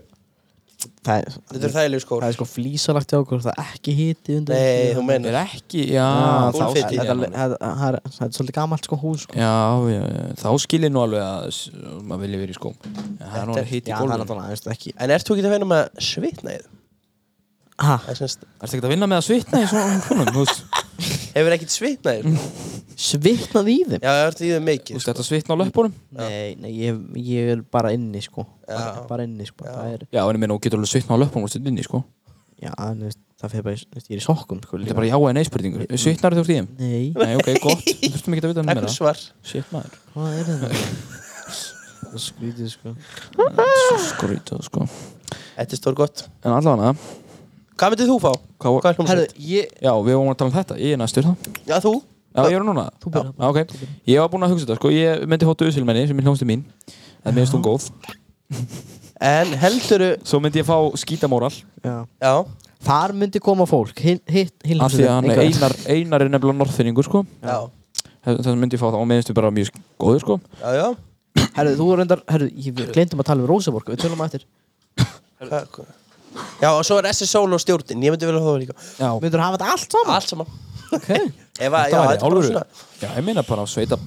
Speaker 3: Það, er,
Speaker 1: Þetta eru þægilegu skór
Speaker 3: það er sko flísalagt hjá okkur Það er ekki hiti undir
Speaker 1: Nei, þú
Speaker 2: Það
Speaker 1: meinar
Speaker 2: er ekki, já
Speaker 3: Já,
Speaker 2: þá-
Speaker 3: þá-
Speaker 1: Úlfiti.
Speaker 3: þetta- þetta- þetta- Það er það er svolítið gamalt sko hús sko.
Speaker 2: Já, já, já, þá skilir nú alveg að s- maður vilja verið í skóm En Það er nú alveg hitt í
Speaker 3: Já, það er
Speaker 2: gólfinu
Speaker 3: náttúrulega veist, ekki
Speaker 1: En ert þú ekki að finna með svitnaðið?
Speaker 3: Ha,
Speaker 1: Það er semst
Speaker 2: Það er ekkert að vinna með að svitna í svona húnum, þú veist
Speaker 1: Hefur ekkert svitnaðið?
Speaker 3: <laughs> Svitnað í þeim
Speaker 1: Já, það ert í þau
Speaker 2: Þú
Speaker 1: mikið sko.
Speaker 2: veist, þetta svitna á löpunum
Speaker 3: Nei, nei ég, ég er bara inni sko bara,
Speaker 1: Já.
Speaker 3: bara inni sko Það er,
Speaker 2: Já, en ég meina, þú getur alveg svitna á löpunum, þú veist, inni, sko
Speaker 3: já, en þú veist, það fyrir bara, í- þú veist, ég er í sokkum sko
Speaker 2: Þetta
Speaker 3: líka
Speaker 2: er bara já eða nei spurningu Svitnar þú úr því þeim?
Speaker 3: Nei,
Speaker 2: Nei, ok, <laughs> gott Þú þurftum ekki að vita
Speaker 1: Takk
Speaker 2: meira
Speaker 1: fyrir svar
Speaker 2: Shit maður
Speaker 3: hvað er <laughs> þetta? Það er skrítið sko
Speaker 2: Svo skrítið, sko
Speaker 1: Þetta er stór gott
Speaker 2: En allavega,
Speaker 1: Hvað myndið þú fá?
Speaker 2: hvað
Speaker 1: Hvað
Speaker 2: var
Speaker 1: er hljómsveit?
Speaker 3: Herðu, ég
Speaker 2: Já, við vorum að tala um þetta Ég er næstur það
Speaker 1: Já, þú
Speaker 2: Já, ég er núna
Speaker 3: Þú
Speaker 2: Já,
Speaker 3: byrjar
Speaker 2: já, ok Ég var búinn að hugsa þetta, sko Ég myndi hóttu usilmenni sem er hljómsið mín En mér finnst hún góð
Speaker 1: En helduru
Speaker 2: Svo myndi ég fá skítamóral
Speaker 3: Já.
Speaker 1: Já
Speaker 3: Þar myndi koma fólk hin- Hitt hin,
Speaker 2: Af því að hann er einar, einar er nefnilega norðfinningur, sko
Speaker 1: Já
Speaker 2: Þess þess myndi ég fá það Og mér finnst þið bara mjög góður, sko
Speaker 1: Já, já
Speaker 3: Herðu, þú reyndar Herðu, ég glemdum að tala um Rósaborg Við tölum að eftir
Speaker 1: Hvað- hvað- Já, og svo er SS Solo stjórnin Ég myndi vilja hafa það líka
Speaker 2: Já,
Speaker 3: Myndur hafa þetta allt saman?
Speaker 1: Allt saman
Speaker 3: okay.
Speaker 1: <laughs> Ef að, já,
Speaker 2: það
Speaker 1: þetta er bara
Speaker 2: væri álfur
Speaker 1: svona
Speaker 2: Já, ég meina bara sveita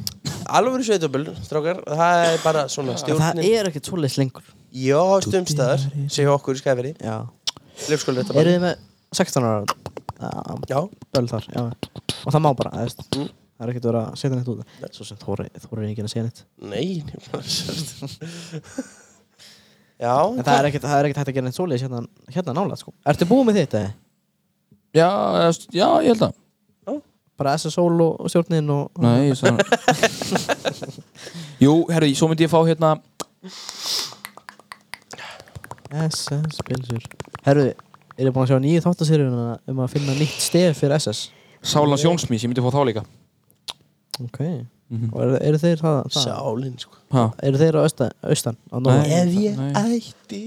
Speaker 1: Alvöru sveitaböl, strákar Það er bara svona
Speaker 3: Það
Speaker 1: stjórnin
Speaker 3: er ekkert svoleiðis lengur
Speaker 1: Já, stumstaðar Sér hjá okkur í skæferi
Speaker 3: Já
Speaker 1: Leifskóli þetta
Speaker 3: Eru þið með 16 ára? Já,
Speaker 1: Já,
Speaker 3: böl þar já. Og það má bara, það veist Það er ekkert verið að setja neitt út Svo sem Þóri, Þóri er ekki að segja neitt
Speaker 1: nei <laughs> ég bara sérst. Já
Speaker 3: En það er ekkert, það er ekkert hægt að gera neitt svoleiðis hérna, hérna nála sko. Ertu búið með þitt eða?
Speaker 2: Já, eða st- já, ég held að
Speaker 3: bara SSL og stjórnin og
Speaker 2: Nei, ég sagði Jú, herri, svo myndi ég fá hérna
Speaker 3: SS pilsur Herðu, er þið búin að sjá nýju þáttaseríuna um að finna nýtt stef fyrir SS
Speaker 2: Sálan Sjónsmís, ég myndi fá þá líka
Speaker 3: Ok
Speaker 2: Mhm.
Speaker 3: Og eru, eru þeir það? það?
Speaker 1: Sálinn sko
Speaker 2: ha.
Speaker 3: Eru þeir á austan, austan á norðan?
Speaker 2: Nei.
Speaker 1: Ef ég
Speaker 2: Nei.
Speaker 1: ætti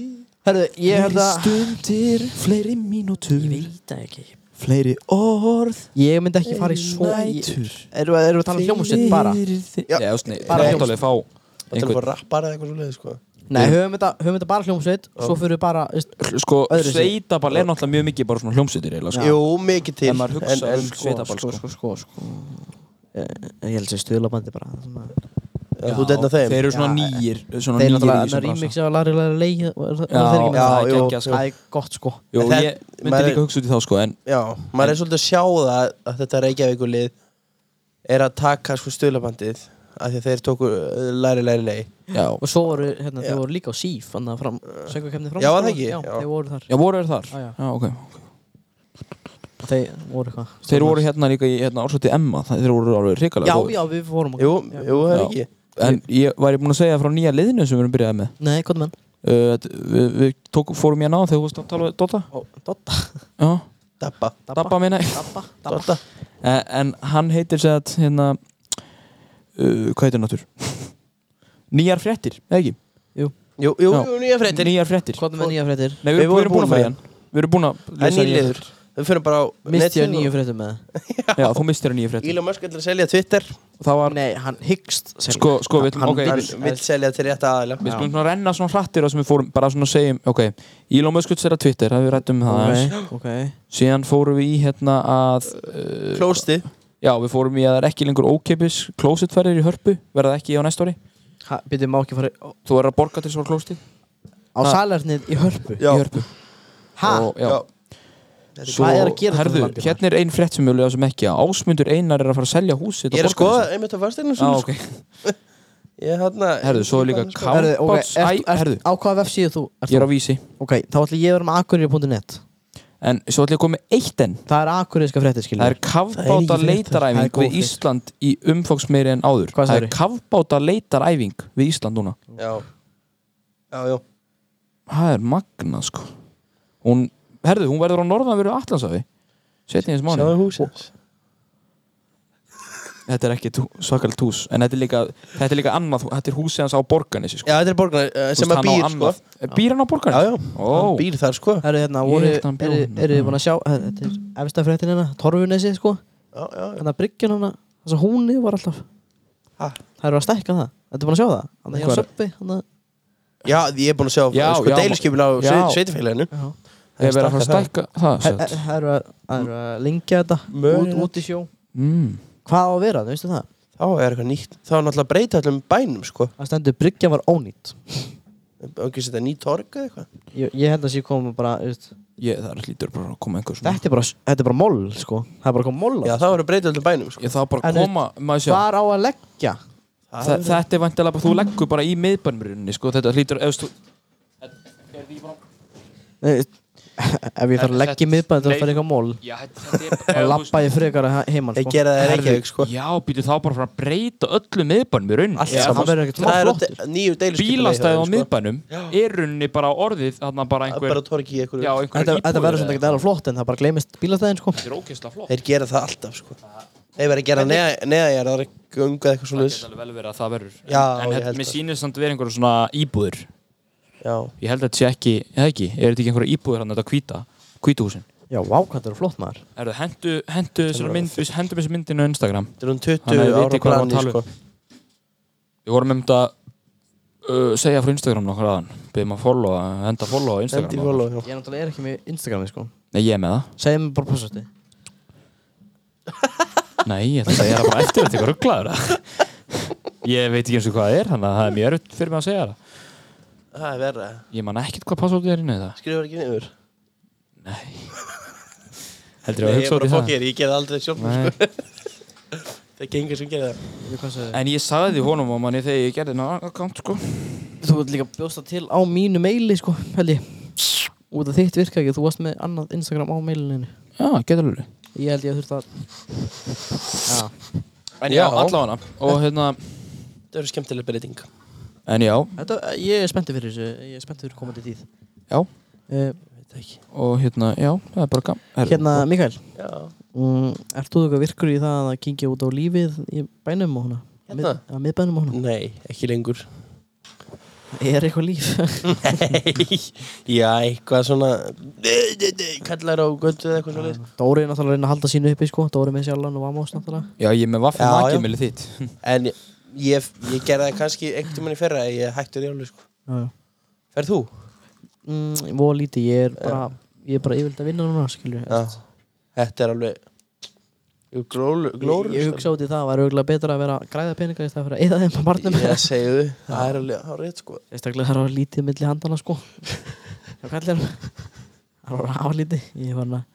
Speaker 3: Herðu, ég held að
Speaker 1: stundir, fleiri mínútur
Speaker 3: veit það ekki
Speaker 1: Fleiri orð
Speaker 3: Ég myndi ekki fara í svo ég- Erum við erum við að tala um hljómsveit bara?
Speaker 2: Já, já nei,
Speaker 3: Bara
Speaker 2: bara hjáttalega fá
Speaker 1: Það er að fá
Speaker 2: einhvern,
Speaker 1: rappar eða eitthvað svo leið sko
Speaker 3: Nei, höfum þetta, höfum þetta bara hljómsveit Svo fyrir við bara veist,
Speaker 2: Sko,
Speaker 3: Öðruvísi.
Speaker 2: sveitaball er náttúrulega mjög mikið bara svona hljómsveitir eiginlega, sko.
Speaker 1: Jú, mikið til
Speaker 2: En maður hugsar um sveitaball,
Speaker 3: sko, sko, sko, sko. Eh, Ég held sér stuðlabandi bara svona.
Speaker 1: Já, Þú dætna þeim
Speaker 2: Þeir eru svona
Speaker 3: Já,
Speaker 2: nýjir Svona
Speaker 3: Þeir
Speaker 2: nýjir í
Speaker 3: náttúrulega
Speaker 2: þessum
Speaker 3: annar
Speaker 2: bransa.
Speaker 3: remix af Larry Larry Lay Já,
Speaker 2: Já,
Speaker 1: Já,
Speaker 2: það er
Speaker 1: jú.
Speaker 2: geggjað, sko.
Speaker 3: Það er gott sko
Speaker 2: Jú,
Speaker 1: En það-
Speaker 2: ég myndi
Speaker 1: maður-
Speaker 2: líka hugsa út í þá sko En
Speaker 1: Já, maður er svolítið að sjá það að þetta Reykjavíkulið er að taka sko stöðlabandið af því að þeir tóku uh, læri, læri, lei
Speaker 2: já,
Speaker 3: Og svo voru, hérna,
Speaker 1: Já.
Speaker 3: þeir voru líka á síf Þannig að fram, söngvakefni fram
Speaker 1: Já, var það ekki?
Speaker 3: Já,
Speaker 1: Já.
Speaker 3: þeir voru þar
Speaker 2: já voru þeir þar
Speaker 3: Já, já.
Speaker 2: Já, ok
Speaker 3: Þeir voru hvað
Speaker 2: Þeir voru hérna líka í hérna, ársvætti Emma það- Þeir voru alveg
Speaker 3: Já,
Speaker 2: hrikalega góðir.
Speaker 3: já, við fórum
Speaker 1: Jú, jú, það er
Speaker 2: Já.
Speaker 1: ekki
Speaker 2: En ég væri búin að segja frá nýja liðinu sem við erum byrjaði með
Speaker 3: Nei, hvað menn?
Speaker 2: uh, að Við, við tók, fórum hérna á þegar þú varst að tala við Dotta
Speaker 3: Ó, Dotta
Speaker 2: Já,
Speaker 1: Dabba,
Speaker 2: Dabba minna <laughs>
Speaker 3: Dabba Dabba
Speaker 1: dotta
Speaker 2: en, en hann heitir sér að hérna uh, Hvað heitir hann aftur? <laughs> Nýjar fréttir, eða ekki?
Speaker 1: Jú, jú,
Speaker 2: Já.
Speaker 1: jú, nýja fréttir
Speaker 2: Nýjar fréttir
Speaker 3: Hvað með nýja fréttir?
Speaker 2: Nei, við,
Speaker 1: Við
Speaker 2: við,
Speaker 1: vorum
Speaker 2: erum búin að fara
Speaker 1: búin
Speaker 2: í hann Við erum búin að
Speaker 1: Það er nýliður Við fyrir bara á
Speaker 3: Misti ég
Speaker 1: netið
Speaker 3: nýju
Speaker 1: og-
Speaker 3: fréttir með það?
Speaker 2: Já, þú mistir að nýjar fréttir
Speaker 1: Elon Musk ætlar að selja Twitter
Speaker 2: Það var,
Speaker 3: Nei, hann hyggst
Speaker 2: sko, sko, við ætlum,
Speaker 3: Hann
Speaker 2: ok
Speaker 1: Hann
Speaker 2: við-
Speaker 1: vill selja til rétta aðeila
Speaker 2: Við skulum svona renna svona hrattir og sem við fórum bara svona segjum, ok, Elon Musk er að Twitter, það við rættum um það aðeins.
Speaker 3: Ok, ok
Speaker 2: síðan fórum við í hérna að uh,
Speaker 1: Klósti
Speaker 2: já, við fórum í að það er ekki lengur ókepis klósitferðir í hörpu, verða ekki á næsta ári
Speaker 3: Býtum má ekki fara í- á-
Speaker 2: þú verður að borga til svo klósið
Speaker 3: á salernið í hörpu
Speaker 1: Já.
Speaker 2: í hörpu
Speaker 3: Ha?
Speaker 2: og, já.
Speaker 3: Svo- Hvað er að gera
Speaker 2: herðu,
Speaker 3: þarna landi
Speaker 2: hérna er ein frétt sem við lögum sem ekki að ásmundur einar er að fara að selja húsið
Speaker 1: Ég er að skoða einmitt að fasteinu
Speaker 2: Já,
Speaker 1: svo
Speaker 2: ok.
Speaker 1: sko. Ég hérna
Speaker 2: herðu, svo er líka
Speaker 3: Herðu, ok,
Speaker 2: kámbáts
Speaker 3: ert- ert-
Speaker 2: herðu,
Speaker 3: Á hvaða vefsíðu þú? ert
Speaker 2: ég er
Speaker 3: á?
Speaker 2: á vísi
Speaker 3: Ok, þá ætlum ég að vera með akureyri.net
Speaker 2: en svo ætlum ég að koma með eitt enn
Speaker 3: Það er akureyriska fréttir,
Speaker 2: Það er
Speaker 3: skilur Það
Speaker 2: kafbáta
Speaker 3: er ekki frétt. Það er
Speaker 2: leitaræfing
Speaker 3: góð
Speaker 2: við
Speaker 3: frétt.
Speaker 2: Ísland í umfangsmeiri en
Speaker 3: Hvað
Speaker 2: áður Það er
Speaker 3: sagðirðu?
Speaker 2: kafbáta leitaræfing við Ísland núna
Speaker 1: Já Já, já
Speaker 2: Það er magna sko Hún, herðu, hún verður á norðanverðu Atlansafi Setni eins mánu
Speaker 1: Sjáðu húsins
Speaker 2: Þetta er ekki tú, svakalt hús En þetta er líka, þetta er líka annað hú- Þetta er húsið hans á Borganessi sko
Speaker 1: Já, þetta er borgarna eh, sem að býr sko
Speaker 2: Býr hann á
Speaker 1: Já,
Speaker 2: Borganessi?
Speaker 1: já
Speaker 2: Ó,
Speaker 1: Hann býr þar sko
Speaker 3: Herru, hérna,
Speaker 2: Ég
Speaker 3: voru,
Speaker 2: held að hann bjó
Speaker 3: eru
Speaker 2: hérna.
Speaker 3: eru þið búin að sjá Þetta er efsta fréttin hérna, Torfunesi, sko hérna,
Speaker 1: Já, já, já
Speaker 3: Þannig að bryggjan hana, þess að húni var alltaf
Speaker 1: Ha?
Speaker 3: Það eru að stækka það, þetta er búin að sjá það Þannig að
Speaker 2: Hvar?
Speaker 3: ég söppi, þannig
Speaker 1: Já, ég er búin að sjá
Speaker 2: Já,
Speaker 1: sko
Speaker 2: já,
Speaker 1: deilskipin á
Speaker 2: já.
Speaker 1: sveit- sveitarfélaginu
Speaker 3: að
Speaker 2: ég verður að fara að stækka Það,
Speaker 3: Það
Speaker 2: sett
Speaker 3: það eru að, það eru að lengja þetta út,
Speaker 1: Mögulegt.
Speaker 3: út í sjó
Speaker 2: mm.
Speaker 3: Hvað á að vera, þú veistu það?
Speaker 1: Þá er eitthvað nýtt Þá er náttúrulega að breyta allum bænum sko
Speaker 3: Það stendur bryggjan var ónýtt
Speaker 1: Og ekki setja ný torg eða eitthvað
Speaker 3: Ég, ég held að sé koma bara, þú veist
Speaker 2: Ég, það er hlýtur bara að koma einhver svona
Speaker 3: Þetta er bara, þetta er bara moll, sko Það er bara komið moll á
Speaker 1: Já,
Speaker 3: það.
Speaker 1: þá er að breyta allum bænum sko
Speaker 2: Ég það bara
Speaker 3: En
Speaker 2: að koma, maður sjá
Speaker 3: Hvar á að leggja?
Speaker 2: Þa, Þetta er vantilega bara, þú leggur bara í miðbænmurinni sko Þetta hlýtur, ef þú
Speaker 3: Nei, <laughs> Ef ég þarf að leggja í miðbæðin þá fara eitthvað mól
Speaker 2: Já, þetta er
Speaker 3: þá lappa ég frekar að heimann
Speaker 1: Ég
Speaker 3: sko.
Speaker 1: gera það ekki sko
Speaker 2: Já, býtu þá bara að fara að breyta öllu miðbænum í rauninni
Speaker 1: Allt
Speaker 3: Já,
Speaker 1: saman.
Speaker 3: það verður ekkert
Speaker 1: Það er
Speaker 3: flottur.
Speaker 1: de- nýju deilskipin
Speaker 2: Bílastæði á
Speaker 1: sko.
Speaker 2: miðbænum er rauninni bara orðið þarna bara einhver
Speaker 1: Bara torg í
Speaker 2: Já,
Speaker 1: einhverju
Speaker 2: einhver
Speaker 3: Þetta, þetta verður svona
Speaker 2: eða
Speaker 3: ekkert alveg flott en það bara gleymist bílastæðin sko.
Speaker 2: Þetta er ógeðslega flott
Speaker 1: Þeir gera það alltaf sko Þeir verður að gera neðajar Gunga eitthvað svona
Speaker 2: Það geta alveg vel verið að það verður
Speaker 1: Já, ég
Speaker 2: En þetta
Speaker 1: held
Speaker 2: með
Speaker 1: það.
Speaker 2: sýnir samt verið einhverja svona íbúður
Speaker 1: Já
Speaker 2: Ég held að þetta sé ekki, eða ekki Er þetta ekki einhverja íbúður hann þetta hvíta Hvítuhúsin
Speaker 3: Já, vá, hvað þetta eru flott maður
Speaker 2: Erðu, hendu, hendu þessar mynd Hendu þessar myndinu á Instagram
Speaker 1: Þetta er um
Speaker 2: Þannig
Speaker 1: 20
Speaker 2: að ég veit
Speaker 1: ára
Speaker 2: ekki hvað við
Speaker 1: plani
Speaker 2: erum að
Speaker 1: sko
Speaker 2: tala Við vorum um þetta uh, Segja frá Instagram nokkur aðan Byggðum að followa, henda followa á Instagram
Speaker 1: Endi
Speaker 2: okkar.
Speaker 1: follow já.
Speaker 3: Ég náttúrulega er ekki með Instagrami sko.
Speaker 2: Nei, ég er með það
Speaker 3: Segðu mér bara passvætti
Speaker 2: Nei, ég ætla að segja það bara eftir þetta eitthvað rugglaður <laughs> Ég veit ekki eins og hvað það er Þannig að það er mjög erfitt fyrir mig að segja það
Speaker 1: Það er verra
Speaker 2: Ég man ekkert hvað passvotið er inn í það
Speaker 1: Skrifar ekki niður
Speaker 2: Nei
Speaker 1: Nei,
Speaker 2: Heldur ég að
Speaker 1: Ég er
Speaker 2: hugsa út
Speaker 1: bara
Speaker 2: í það
Speaker 1: fokkir Ég gera það aldrei sjálf sko.
Speaker 2: Nei.
Speaker 1: Það er gengur sem gera það
Speaker 2: En ég sagði því honum á manni þegar ég gerði ná account sko
Speaker 3: Þú ert líka bjósta til á mínu meili sko, held ég Út af þitt virka ekki, þú varst með annað Instagram á meilinni
Speaker 2: Já, Já, getur alveg
Speaker 3: Ég held ég að þurft að Já,
Speaker 2: En
Speaker 1: Já.
Speaker 2: já, allavega Og hérna
Speaker 1: Það eru skemmtilega breyting
Speaker 2: En já,
Speaker 3: þetta, ég er spenntið fyrir þessu Ég er spenntið fyrir komandi tíð
Speaker 2: já
Speaker 3: uh,
Speaker 2: Og hérna, já, það er bara gaman Herru,
Speaker 3: Hérna, Mikael
Speaker 1: Já,
Speaker 3: mm, Ert þú eitthvað virkur í það að kynkja út á lífið í bænum og hana?
Speaker 1: Hérna?
Speaker 3: Mið, að miðbænum og hana?
Speaker 1: nei, ekki
Speaker 2: <laughs>
Speaker 1: lengur
Speaker 3: Er eitthvað <laughs> líf?
Speaker 1: Nei, já, eitthvað svona Kallar á göndu eða eitthvað svona
Speaker 3: Dóri er náttúrulega að reyna að halda sínu uppi sko Dóri með sjálfan og Amos náttúrulega
Speaker 2: Já, ég er með vaffum
Speaker 1: Já, já.
Speaker 2: nakið milið þitt
Speaker 1: En ég, ég gerði það kannski einhvern tímann í fyrra Ég hættur í alveg sko
Speaker 3: Já, já
Speaker 1: Ferð þú?
Speaker 3: mm, Vó lítið, ég er bara Ég er bara yfirlega að vinna núna, skilju
Speaker 1: Já, þetta er alveg glóru, glóru
Speaker 3: Ég hugsa út í það, það var auðvitað betra að vera að græða peninga í stað fyrir að eða þeim á barnum
Speaker 1: Ég
Speaker 3: <laughs>
Speaker 1: segju, um <laughs> það er alveg hárið sko
Speaker 3: Einstaklega það var lítið milli handana sko Það kallir Það var aflítið Ég var að